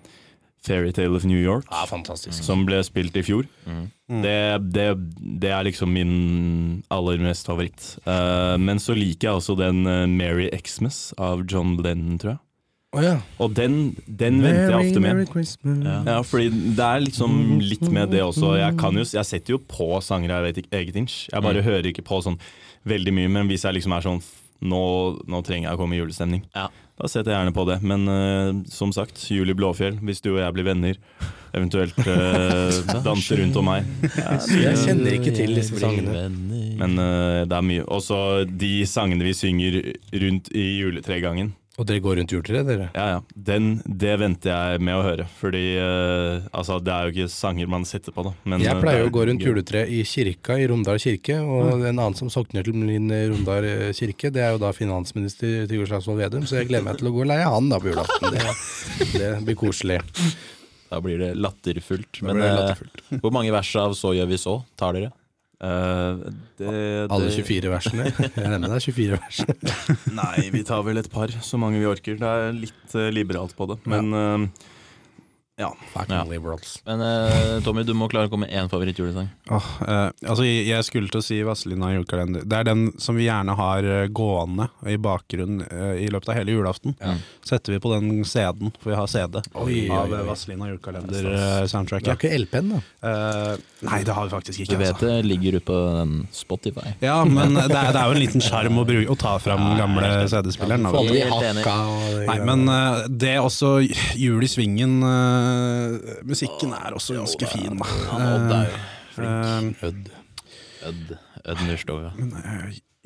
[SPEAKER 3] 'Fairytale of New York',
[SPEAKER 9] Ja, fantastisk.
[SPEAKER 3] som ble spilt i fjor.
[SPEAKER 9] Mm.
[SPEAKER 3] Det, det, det er liksom min aller mest favoritt. Eh, men så liker jeg også den eh, 'Merry Xmas' av John Lennon, tror jeg.
[SPEAKER 9] Å ja.
[SPEAKER 3] Og den, den Mm. venter jeg ofte med.
[SPEAKER 9] Christmas.
[SPEAKER 3] Ja, fordi det er liksom
[SPEAKER 9] Mhm.
[SPEAKER 3] litt med det også. Jeg, kan jo, jeg setter jo på sanger jeg vet ikke, eget inch. Jeg
[SPEAKER 9] Mm.
[SPEAKER 3] bare hører ikke på sånn veldig mye, men hvis jeg liksom er sånn "F- nå, nå trenger jeg å komme i julestemning.
[SPEAKER 1] Ja.
[SPEAKER 3] Da setter jeg gjerne på det. Men eh, som sagt, jul i Blåfjell, hvis du og jeg blir venner, eventuelt eh, danse rundt om meg.
[SPEAKER 9] Jeg kjenner ikke til disse sangene.
[SPEAKER 3] Men eh, det er mye. Også de sangene vi synger rundt i juletregangen.
[SPEAKER 9] Og dere går rundt juletreet, dere?
[SPEAKER 3] Ja, ja. Den, det venter jeg med å høre. Fordi eh, altså, det er jo ikke sanger man setter på, da. Men, eh,
[SPEAKER 9] Jeg pleier jo
[SPEAKER 3] det er
[SPEAKER 9] å gå rundt
[SPEAKER 3] gøy.
[SPEAKER 9] juletreet i kirka i Romdal kirke, og en annen som sokner til min Romdal eh, kirke, det er jo da finansminister Trygve Slagsvold Vedum, så jeg gleder meg til å gå og leie han da på julaften. Det, det blir koselig.
[SPEAKER 1] Da blir det latterfullt. Men
[SPEAKER 9] blir det
[SPEAKER 1] eh,
[SPEAKER 9] latterfullt.
[SPEAKER 1] hvor mange vers av 'Så gjør vi så' tar dere?
[SPEAKER 3] Eh, det,
[SPEAKER 9] Alle
[SPEAKER 3] det-
[SPEAKER 9] 24 versene. Jeg regner med det er 24 vers.
[SPEAKER 3] Nei, vi tar vel et par. Så mange vi orker. Det er litt eh, liberalt på det. Men eh, ja.
[SPEAKER 1] Ja.
[SPEAKER 9] Fucking liberals.
[SPEAKER 1] Men eh, Tommy, du må klare å komme med én favorittjulesang.
[SPEAKER 4] Åh, eh, altså, jeg jeg skulle til å si Vazelina julekalender. Det er den som vi gjerne har eh, gående i bakgrunnen eh, i løpet av hele julaften. Setter vi på den CD-en, for vi har CD
[SPEAKER 9] Oi,
[SPEAKER 4] av
[SPEAKER 9] oi, oi.
[SPEAKER 4] eh, Vazelina
[SPEAKER 9] Du har
[SPEAKER 4] julekalender-soundtracket.
[SPEAKER 9] ikke LP-en, da?
[SPEAKER 4] Eh, nei, det har vi faktisk
[SPEAKER 1] Du
[SPEAKER 4] ikke.
[SPEAKER 3] altså.
[SPEAKER 4] altså.
[SPEAKER 1] vet det ligger ute på den Spotify.
[SPEAKER 4] Ja, men eh, det er, det er jo en liten sjarm å, bruke- å ta fram den gamle CD-spilleren. da.
[SPEAKER 9] Få aldri
[SPEAKER 1] Helt enig.
[SPEAKER 9] hakka og det
[SPEAKER 4] Nei,
[SPEAKER 9] greiene.
[SPEAKER 4] men eh, det er også Jul i svingen eh, Musikken er også ganske fin, da.
[SPEAKER 1] Odd er jo
[SPEAKER 4] Eh,
[SPEAKER 1] Ødd. Ødd Nyrstova.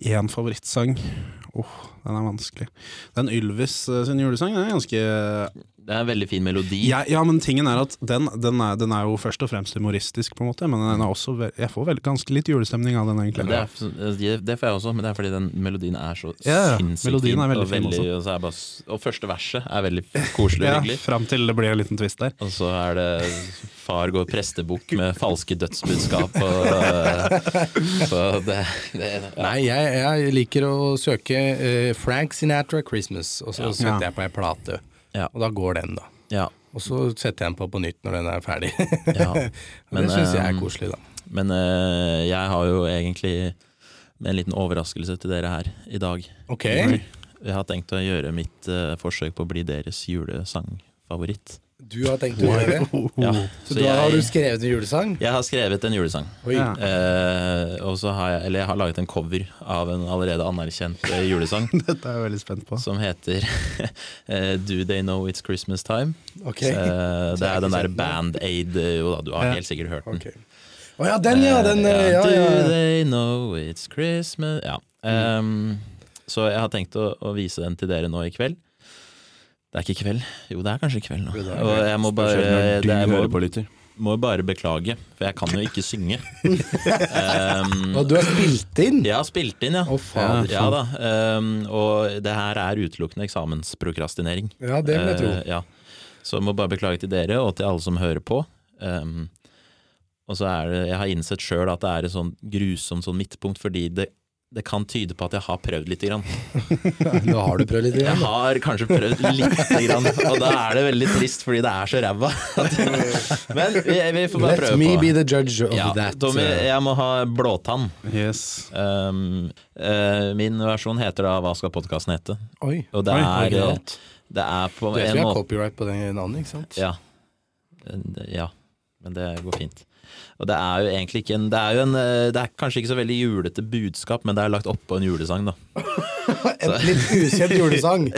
[SPEAKER 4] én favorittsang. Åh, den er vanskelig. Den Ylvis eh, sin julesang den er ganske
[SPEAKER 1] Det er en veldig fin melodi.
[SPEAKER 4] Ja, ja, men tingen er at den, den, er, den er jo først og fremst humoristisk, på en måte, men den er også ve jeg får vel, ganske litt julestemning av den, egentlig.
[SPEAKER 1] Det, er, det får jeg også, men det er fordi den melodien er så
[SPEAKER 4] Ja, ja.
[SPEAKER 1] sinnssykt
[SPEAKER 4] Melodien
[SPEAKER 1] fin,
[SPEAKER 4] er veldig
[SPEAKER 1] og,
[SPEAKER 4] fin også.
[SPEAKER 1] og, så er det bare, s- og første verset er veldig koselig og
[SPEAKER 4] ja,
[SPEAKER 1] hyggelig.
[SPEAKER 4] Fram til det blir en liten twist der.
[SPEAKER 1] Og så er det far går prestebukk med falske dødsbudskap og eh, Så det, det ja.
[SPEAKER 9] eh, Nei, jeg, jeg liker å søke eh, Frank Sinatra Christmas, og så
[SPEAKER 4] Ja.
[SPEAKER 9] setter jeg på ei plate.
[SPEAKER 1] Ja.
[SPEAKER 9] Og da går den, da.
[SPEAKER 1] ja,
[SPEAKER 9] Og så setter jeg den på på nytt når den er ferdig.
[SPEAKER 1] ja.
[SPEAKER 9] Og det syns jeg
[SPEAKER 1] eh,
[SPEAKER 9] er koselig, da.
[SPEAKER 1] Men eh, jeg har jo egentlig en liten overraskelse til dere her i dag.
[SPEAKER 9] Ok.
[SPEAKER 1] Jeg har tenkt å gjøre mitt eh, forsøk på å bli deres julesangfavoritt.
[SPEAKER 9] Du har tenkt å gjøre det?
[SPEAKER 1] Ja.
[SPEAKER 9] Oh, Så,
[SPEAKER 1] Så
[SPEAKER 9] da har du
[SPEAKER 1] jeg,
[SPEAKER 9] skrevet en julesang?
[SPEAKER 1] jeg har skrevet en julesang.
[SPEAKER 9] Oi.
[SPEAKER 4] Ja.
[SPEAKER 1] Eh, og så har jeg, eller jeg har laget en cover av en allerede anerkjent eh, julesang
[SPEAKER 4] Dette er jeg veldig spent på.
[SPEAKER 1] som heter eh, Do They Know It's Christmas Time.
[SPEAKER 9] Ok.
[SPEAKER 1] Eh, det er
[SPEAKER 9] ikke
[SPEAKER 1] den der
[SPEAKER 9] kjent med.
[SPEAKER 1] Band-Aid eh, Jo da, du har
[SPEAKER 4] Ja.
[SPEAKER 1] helt sikkert hørt den.
[SPEAKER 9] Ok. Å ja, den ja! Den, eh,
[SPEAKER 1] Eh,
[SPEAKER 9] ja, Mm.
[SPEAKER 1] Do
[SPEAKER 9] ja.
[SPEAKER 1] they know it's Christmas Ja. ehm, så jeg har tenkt å, å vise den til dere nå i kveld. Det er ikke i kveld. Jo, det er kanskje i kveld nå.
[SPEAKER 9] det er
[SPEAKER 1] Og jeg må bare,
[SPEAKER 3] Når
[SPEAKER 1] det
[SPEAKER 3] du
[SPEAKER 1] er,
[SPEAKER 3] hører
[SPEAKER 1] må,
[SPEAKER 3] på, lytter.
[SPEAKER 1] må bare beklage, for jeg kan jo ikke synge. Ehm,
[SPEAKER 9] Og du har spilt inn?
[SPEAKER 1] jeg har spilt inn, ja.
[SPEAKER 9] Å, fader.
[SPEAKER 1] ja da. ehm, og det her er utelukkende eksamensprokrastinering.
[SPEAKER 9] Ja, det vil jeg tro.
[SPEAKER 1] Eh, ja. Så jeg må bare beklage til dere og til alle som hører på. Ehm, og så er det, Jeg har innsett sjøl at det er et sånn grusomt sånn midtpunkt, fordi det, det kan tyde på at jeg har prøvd lite grann.
[SPEAKER 9] Nå har du prøvd litt
[SPEAKER 1] Eh, Jeg
[SPEAKER 9] igjen. da.
[SPEAKER 1] har kanskje prøvd lite grann, og da er det veldig trist fordi det er så ræva. Men vi, vi får bare
[SPEAKER 9] Let
[SPEAKER 1] prøve
[SPEAKER 9] me
[SPEAKER 1] på.
[SPEAKER 9] be the judge of
[SPEAKER 1] ja,
[SPEAKER 9] that. eh,
[SPEAKER 1] Tommy, jeg må ha blåtann.
[SPEAKER 4] Yes.
[SPEAKER 1] Um, eh, min versjon heter da 'Hva skal podkasten hete?'
[SPEAKER 9] Oi.
[SPEAKER 1] Og det
[SPEAKER 4] Oi,
[SPEAKER 1] er, eh,
[SPEAKER 4] originalt.
[SPEAKER 1] det er på
[SPEAKER 9] Du vet
[SPEAKER 1] en
[SPEAKER 9] vi har
[SPEAKER 1] måte
[SPEAKER 9] copyright på den navnet, ikke sant?
[SPEAKER 1] ja. Det- ja, men det går fint. Og det er jo egentlig ikke en Det er, jo en, eh, det er kanskje ikke så veldig julete budskap, men det er lagt oppå en julesang, da.
[SPEAKER 9] En litt ukjent julesang.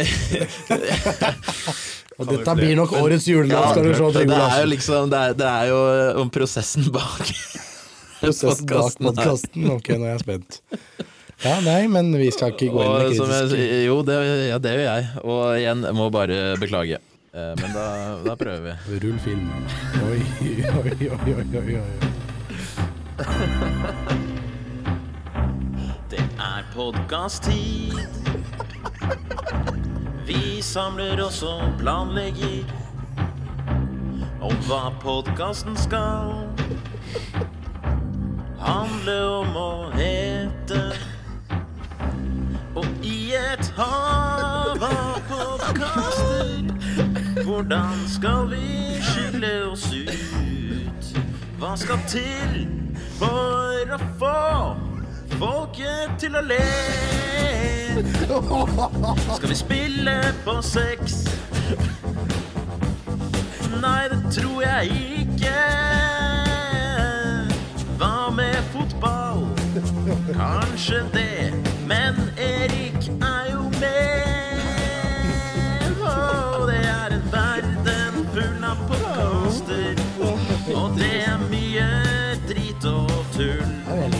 [SPEAKER 9] Og dette blir nok årets julelåt, skal du se,
[SPEAKER 1] det
[SPEAKER 9] Trygve
[SPEAKER 1] er jo
[SPEAKER 9] Larsen.
[SPEAKER 1] liksom Det er, det er jo eh, om prosessen bak.
[SPEAKER 9] Prosessen bak
[SPEAKER 1] podcasten her.
[SPEAKER 9] podkasten. Ok, nå er jeg spent. Ja, nei, men vi skal ikke gå inn
[SPEAKER 1] Og
[SPEAKER 9] i
[SPEAKER 1] som jeg,
[SPEAKER 9] kritisk
[SPEAKER 1] sier- jo, det, ja, det gjør jeg. Og igjen, jeg må bare beklage. Eh, Men da, da prøver vi.
[SPEAKER 9] Rull film. Oi, oi, oi, oi, oi, oi.
[SPEAKER 1] Det er podkast-tid. Vi samler oss og planlegger om hva podkasten skal handle om å hete. Og i et hav av podkaster, hvordan skal vi skille oss ut? Hva skal til for å få folket til å le? Skal vi spille på sex? Nei, det tror jeg ikke. Hva med fotball? Kanskje det, men Erik er jo med. Åh, det er en verden full av podkaster, og det er mye drit og tull.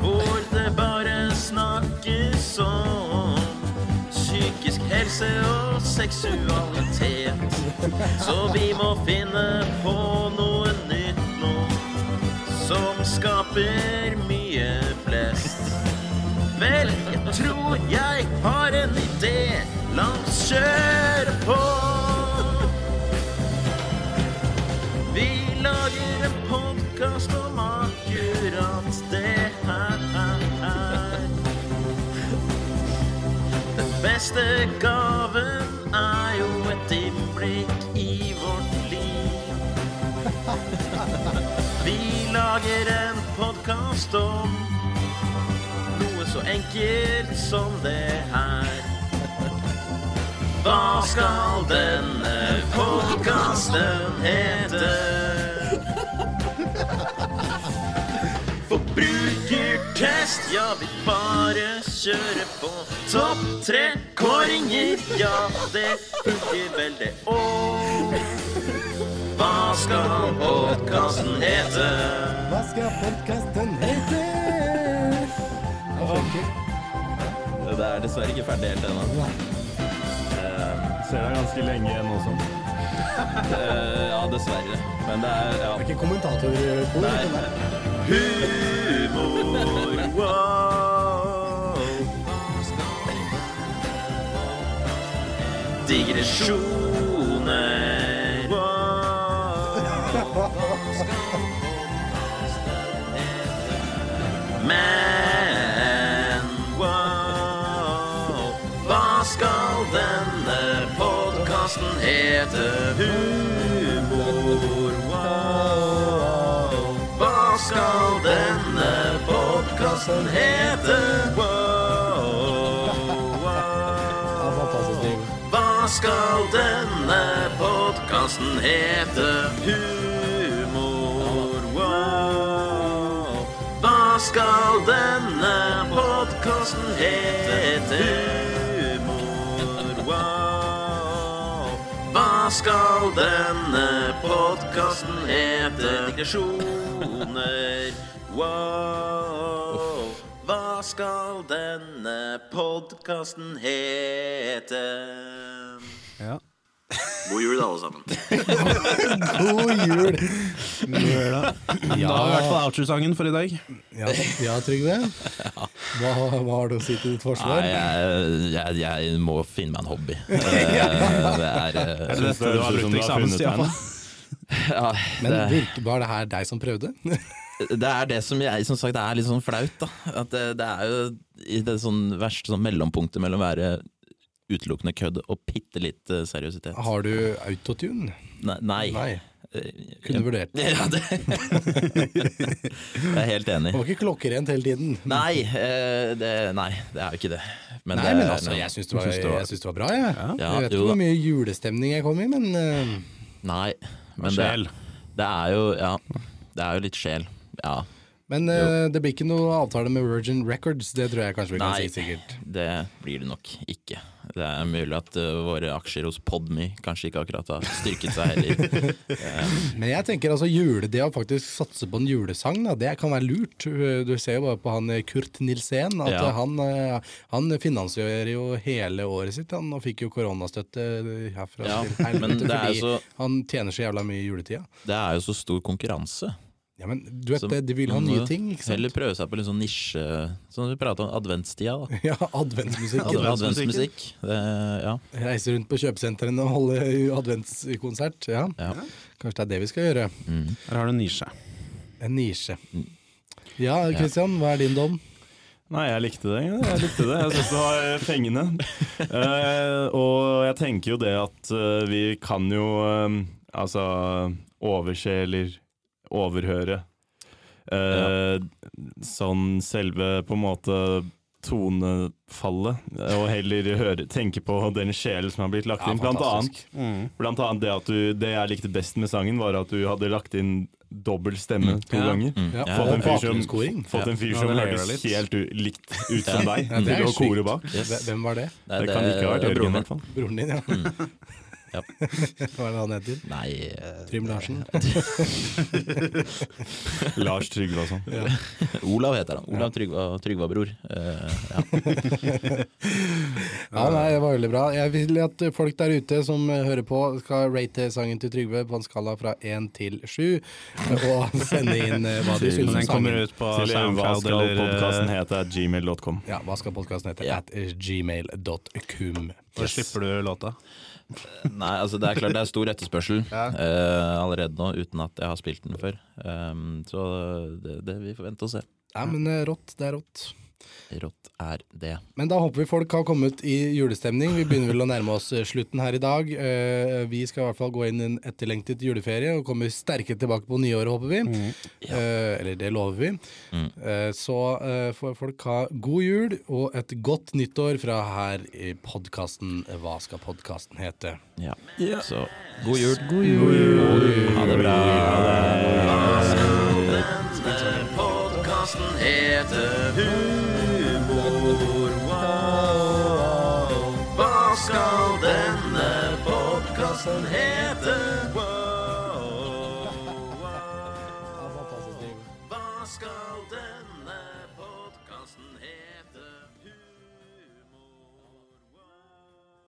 [SPEAKER 1] Hvor det bare snakkes om sånn. psykisk helse og seksualitet. Så vi må finne på noe nytt nå, som skaper mye blest. Vel, jeg tror jeg har en idé. La oss kjøre på. Vi lager en podkast om akkurat det her. Den beste gaven er jo et innblikk i vårt liv. Vi lager en podkast om noe så enkelt som det her. Hva skal denne podkasten hete? Forbrukertest, ja vi bare kjører på. Topp tre kåringer, ja det funker vel det òg. Hva skal podkasten hete?
[SPEAKER 9] Hva skal podkasten hete?
[SPEAKER 1] Det er dessverre ikke ferdig helt ennå.
[SPEAKER 3] Ser deg ganske lenge igjen også.
[SPEAKER 1] Eh, ja, dessverre. Men det er ja.
[SPEAKER 2] Ikke
[SPEAKER 9] eh,
[SPEAKER 2] kommentatorkor.
[SPEAKER 3] Humor, wow.
[SPEAKER 1] Digresjoner. Men Hva skal denne podkasten hete? Humor, wow. Hva skal denne podkasten hete? Wow, wow. Hva skal denne podkasten hete? Humor, wow. Hva skal denne podkasten hete? Humor, wow. Hva skal denne podkasten hete? Digresjoner, wow. Hva skal denne podkasten hete?
[SPEAKER 4] Ja.
[SPEAKER 1] God jul, alle sammen.
[SPEAKER 2] God jul!
[SPEAKER 4] Ja, i hvert fall outro-sangen for i dag.
[SPEAKER 2] Ja, ja Trygve. Hva, hva har du å si til ditt
[SPEAKER 1] Nei,
[SPEAKER 2] forsvar?
[SPEAKER 1] jeg, jeg, jeg må finne meg en hobby. Eh, Det er eh,
[SPEAKER 4] Eller dette du har brukt eksamens i hvert fall.
[SPEAKER 1] ja,
[SPEAKER 2] Men virke, var det her deg som prøvde?
[SPEAKER 1] det er det som jeg som sagt, det er litt sånn flaut. da At det, det er jo i det sånn verste sånn mellompunktet mellom å være utelukkende kødd og bitte litt eh, seriøsitet.
[SPEAKER 2] Har du autotune?
[SPEAKER 1] Nei. nei.
[SPEAKER 2] Nei.
[SPEAKER 1] Eh,
[SPEAKER 2] Kunne vurdert.
[SPEAKER 1] Ja, det. jeg er helt enig.
[SPEAKER 2] Det var ikke klokkerent hele tiden.
[SPEAKER 1] Nei, eh, det, nei, det er jo ikke det. Men
[SPEAKER 2] Nei,
[SPEAKER 1] det
[SPEAKER 2] men
[SPEAKER 1] er-
[SPEAKER 2] altså, jeg syns det, var- jeg syns det var bra, jeg.
[SPEAKER 1] Ja,
[SPEAKER 2] jeg vet
[SPEAKER 1] jo
[SPEAKER 2] ikke
[SPEAKER 1] da.
[SPEAKER 2] hvor mye julestemning jeg kom i, men eh,
[SPEAKER 1] Nei, men det,
[SPEAKER 4] Sjel.
[SPEAKER 1] det er jo Ja, det er jo litt sjel. Ja.
[SPEAKER 2] Men eh, det blir ikke noe avtale med Virgin Records, det tror jeg kanskje vi kan
[SPEAKER 1] Nei.
[SPEAKER 2] si sikkert.
[SPEAKER 1] Det blir det nok ikke. Det er mulig at eh, våre aksjer hos Podme kanskje ikke akkurat har styrket seg heller.
[SPEAKER 2] Men jeg tenker altså jule, det å faktisk satse på en julesang, da, det kan være lurt. Du ser jo bare på han eh, Kurt Nilsen, at
[SPEAKER 1] Ja.
[SPEAKER 2] eh, han, eh, han finansierer jo hele året sitt, han, og fikk jo koronastøtte eh, herfra
[SPEAKER 1] Ja,
[SPEAKER 2] til
[SPEAKER 1] men
[SPEAKER 2] helvete,
[SPEAKER 1] det er
[SPEAKER 2] fordi
[SPEAKER 1] jo så-
[SPEAKER 2] han tjener så jævla mye i juletida.
[SPEAKER 1] Det er jo så stor konkurranse.
[SPEAKER 2] Ja, men du vet
[SPEAKER 1] så
[SPEAKER 2] det, de vil ha
[SPEAKER 1] man må
[SPEAKER 2] nye ting, ikke sant?
[SPEAKER 1] Heller prøve seg på litt sånn nisje Sånn vi prata om adventstida, da.
[SPEAKER 2] Ja, adventsmusikk.
[SPEAKER 1] Adv- Adventsmusikk. Det, ja.
[SPEAKER 2] Reise rundt på kjøpesentrene og holde adventskonsert. Ja.
[SPEAKER 1] Ja.
[SPEAKER 2] Kanskje det er det vi skal gjøre.
[SPEAKER 1] Mm,
[SPEAKER 4] Her har du en nisje.
[SPEAKER 2] En nisje. Ja, Kristian, hva er din dom?
[SPEAKER 3] Nei, jeg likte det. Jeg likte det. Jeg syns det var eh, fengende. Eh, og jeg tenker jo det at eh, vi kan jo eh, altså overse eller overhøre eh, sånn selve på en måte tonefallet, eh, og heller høre, tenke på den sjelen som har blitt lagt inn. Blant annet, blant annet det at du Det jeg likte best med sangen, var at du hadde lagt inn dobbel stemme to ganger.
[SPEAKER 2] Ja,
[SPEAKER 1] mm. Ja,
[SPEAKER 3] Fått en fyr som,
[SPEAKER 2] bakgrunnskoring.
[SPEAKER 3] fått en fyr
[SPEAKER 4] Ja,
[SPEAKER 3] som
[SPEAKER 4] den hører
[SPEAKER 3] hørtes
[SPEAKER 4] jeg litt.
[SPEAKER 3] helt u likt ut som deg.
[SPEAKER 2] Ja, det er
[SPEAKER 3] til å
[SPEAKER 2] sykt.
[SPEAKER 3] kore bak.
[SPEAKER 1] Yes.
[SPEAKER 2] Hve- Hvem var det?
[SPEAKER 1] Nei,
[SPEAKER 3] Det kan ikke ha vært
[SPEAKER 1] er broren
[SPEAKER 3] Jørgen, i
[SPEAKER 1] min.
[SPEAKER 3] hvert fall.
[SPEAKER 2] Broren din, ja.
[SPEAKER 4] Mm.
[SPEAKER 1] Ja.
[SPEAKER 2] Hva er det han heter?
[SPEAKER 1] Nei eh,
[SPEAKER 2] Trym Larsen.
[SPEAKER 3] Lars Trygve og sånn.
[SPEAKER 1] Olav heter han. Olav Trygva, Trygva-bror. Eh, ja.
[SPEAKER 2] Ja, nei, det var veldig bra. Jeg vil at folk der ute som eh, hører på, skal rate sangen til Trygve på en skala fra én til sju, og sende inn eh, hva de
[SPEAKER 3] Til-
[SPEAKER 2] syns om
[SPEAKER 4] Den kommer
[SPEAKER 2] sangen.
[SPEAKER 4] ut på
[SPEAKER 3] Til hva
[SPEAKER 4] SoundCloud
[SPEAKER 3] skal podkasten
[SPEAKER 4] eller eh,
[SPEAKER 3] hete? Gmail.com.
[SPEAKER 2] Ja, hva skal podkasten hete?
[SPEAKER 1] Ja.
[SPEAKER 2] At gmail.cum.
[SPEAKER 4] Da slipper du låta.
[SPEAKER 1] Nei, altså det er klart det er stor etterspørsel eh, allerede nå, uten at jeg har spilt den før. Um, så det, det vi får vente og se.
[SPEAKER 2] Ja, men eh, rått, det er rått.
[SPEAKER 1] Rått er det.
[SPEAKER 2] Men da håper vi folk har kommet i julestemning. Vi begynner vel å nærme oss eh, slutten her i dag. Eh, Vi skal i hvert fall gå inn i en etterlengtet juleferie og kommer sterke tilbake på nyåret, håper vi. Eh, Eller det lover vi. Eh, Så eh, får folk ha god jul og et godt nyttår fra her i podkasten Hva skal podkasten hete?
[SPEAKER 1] Ja. Så god jul. God jul. Ha det bra. Denne podkasten heter Humor. Wow. Hva skal denne podkasten hete?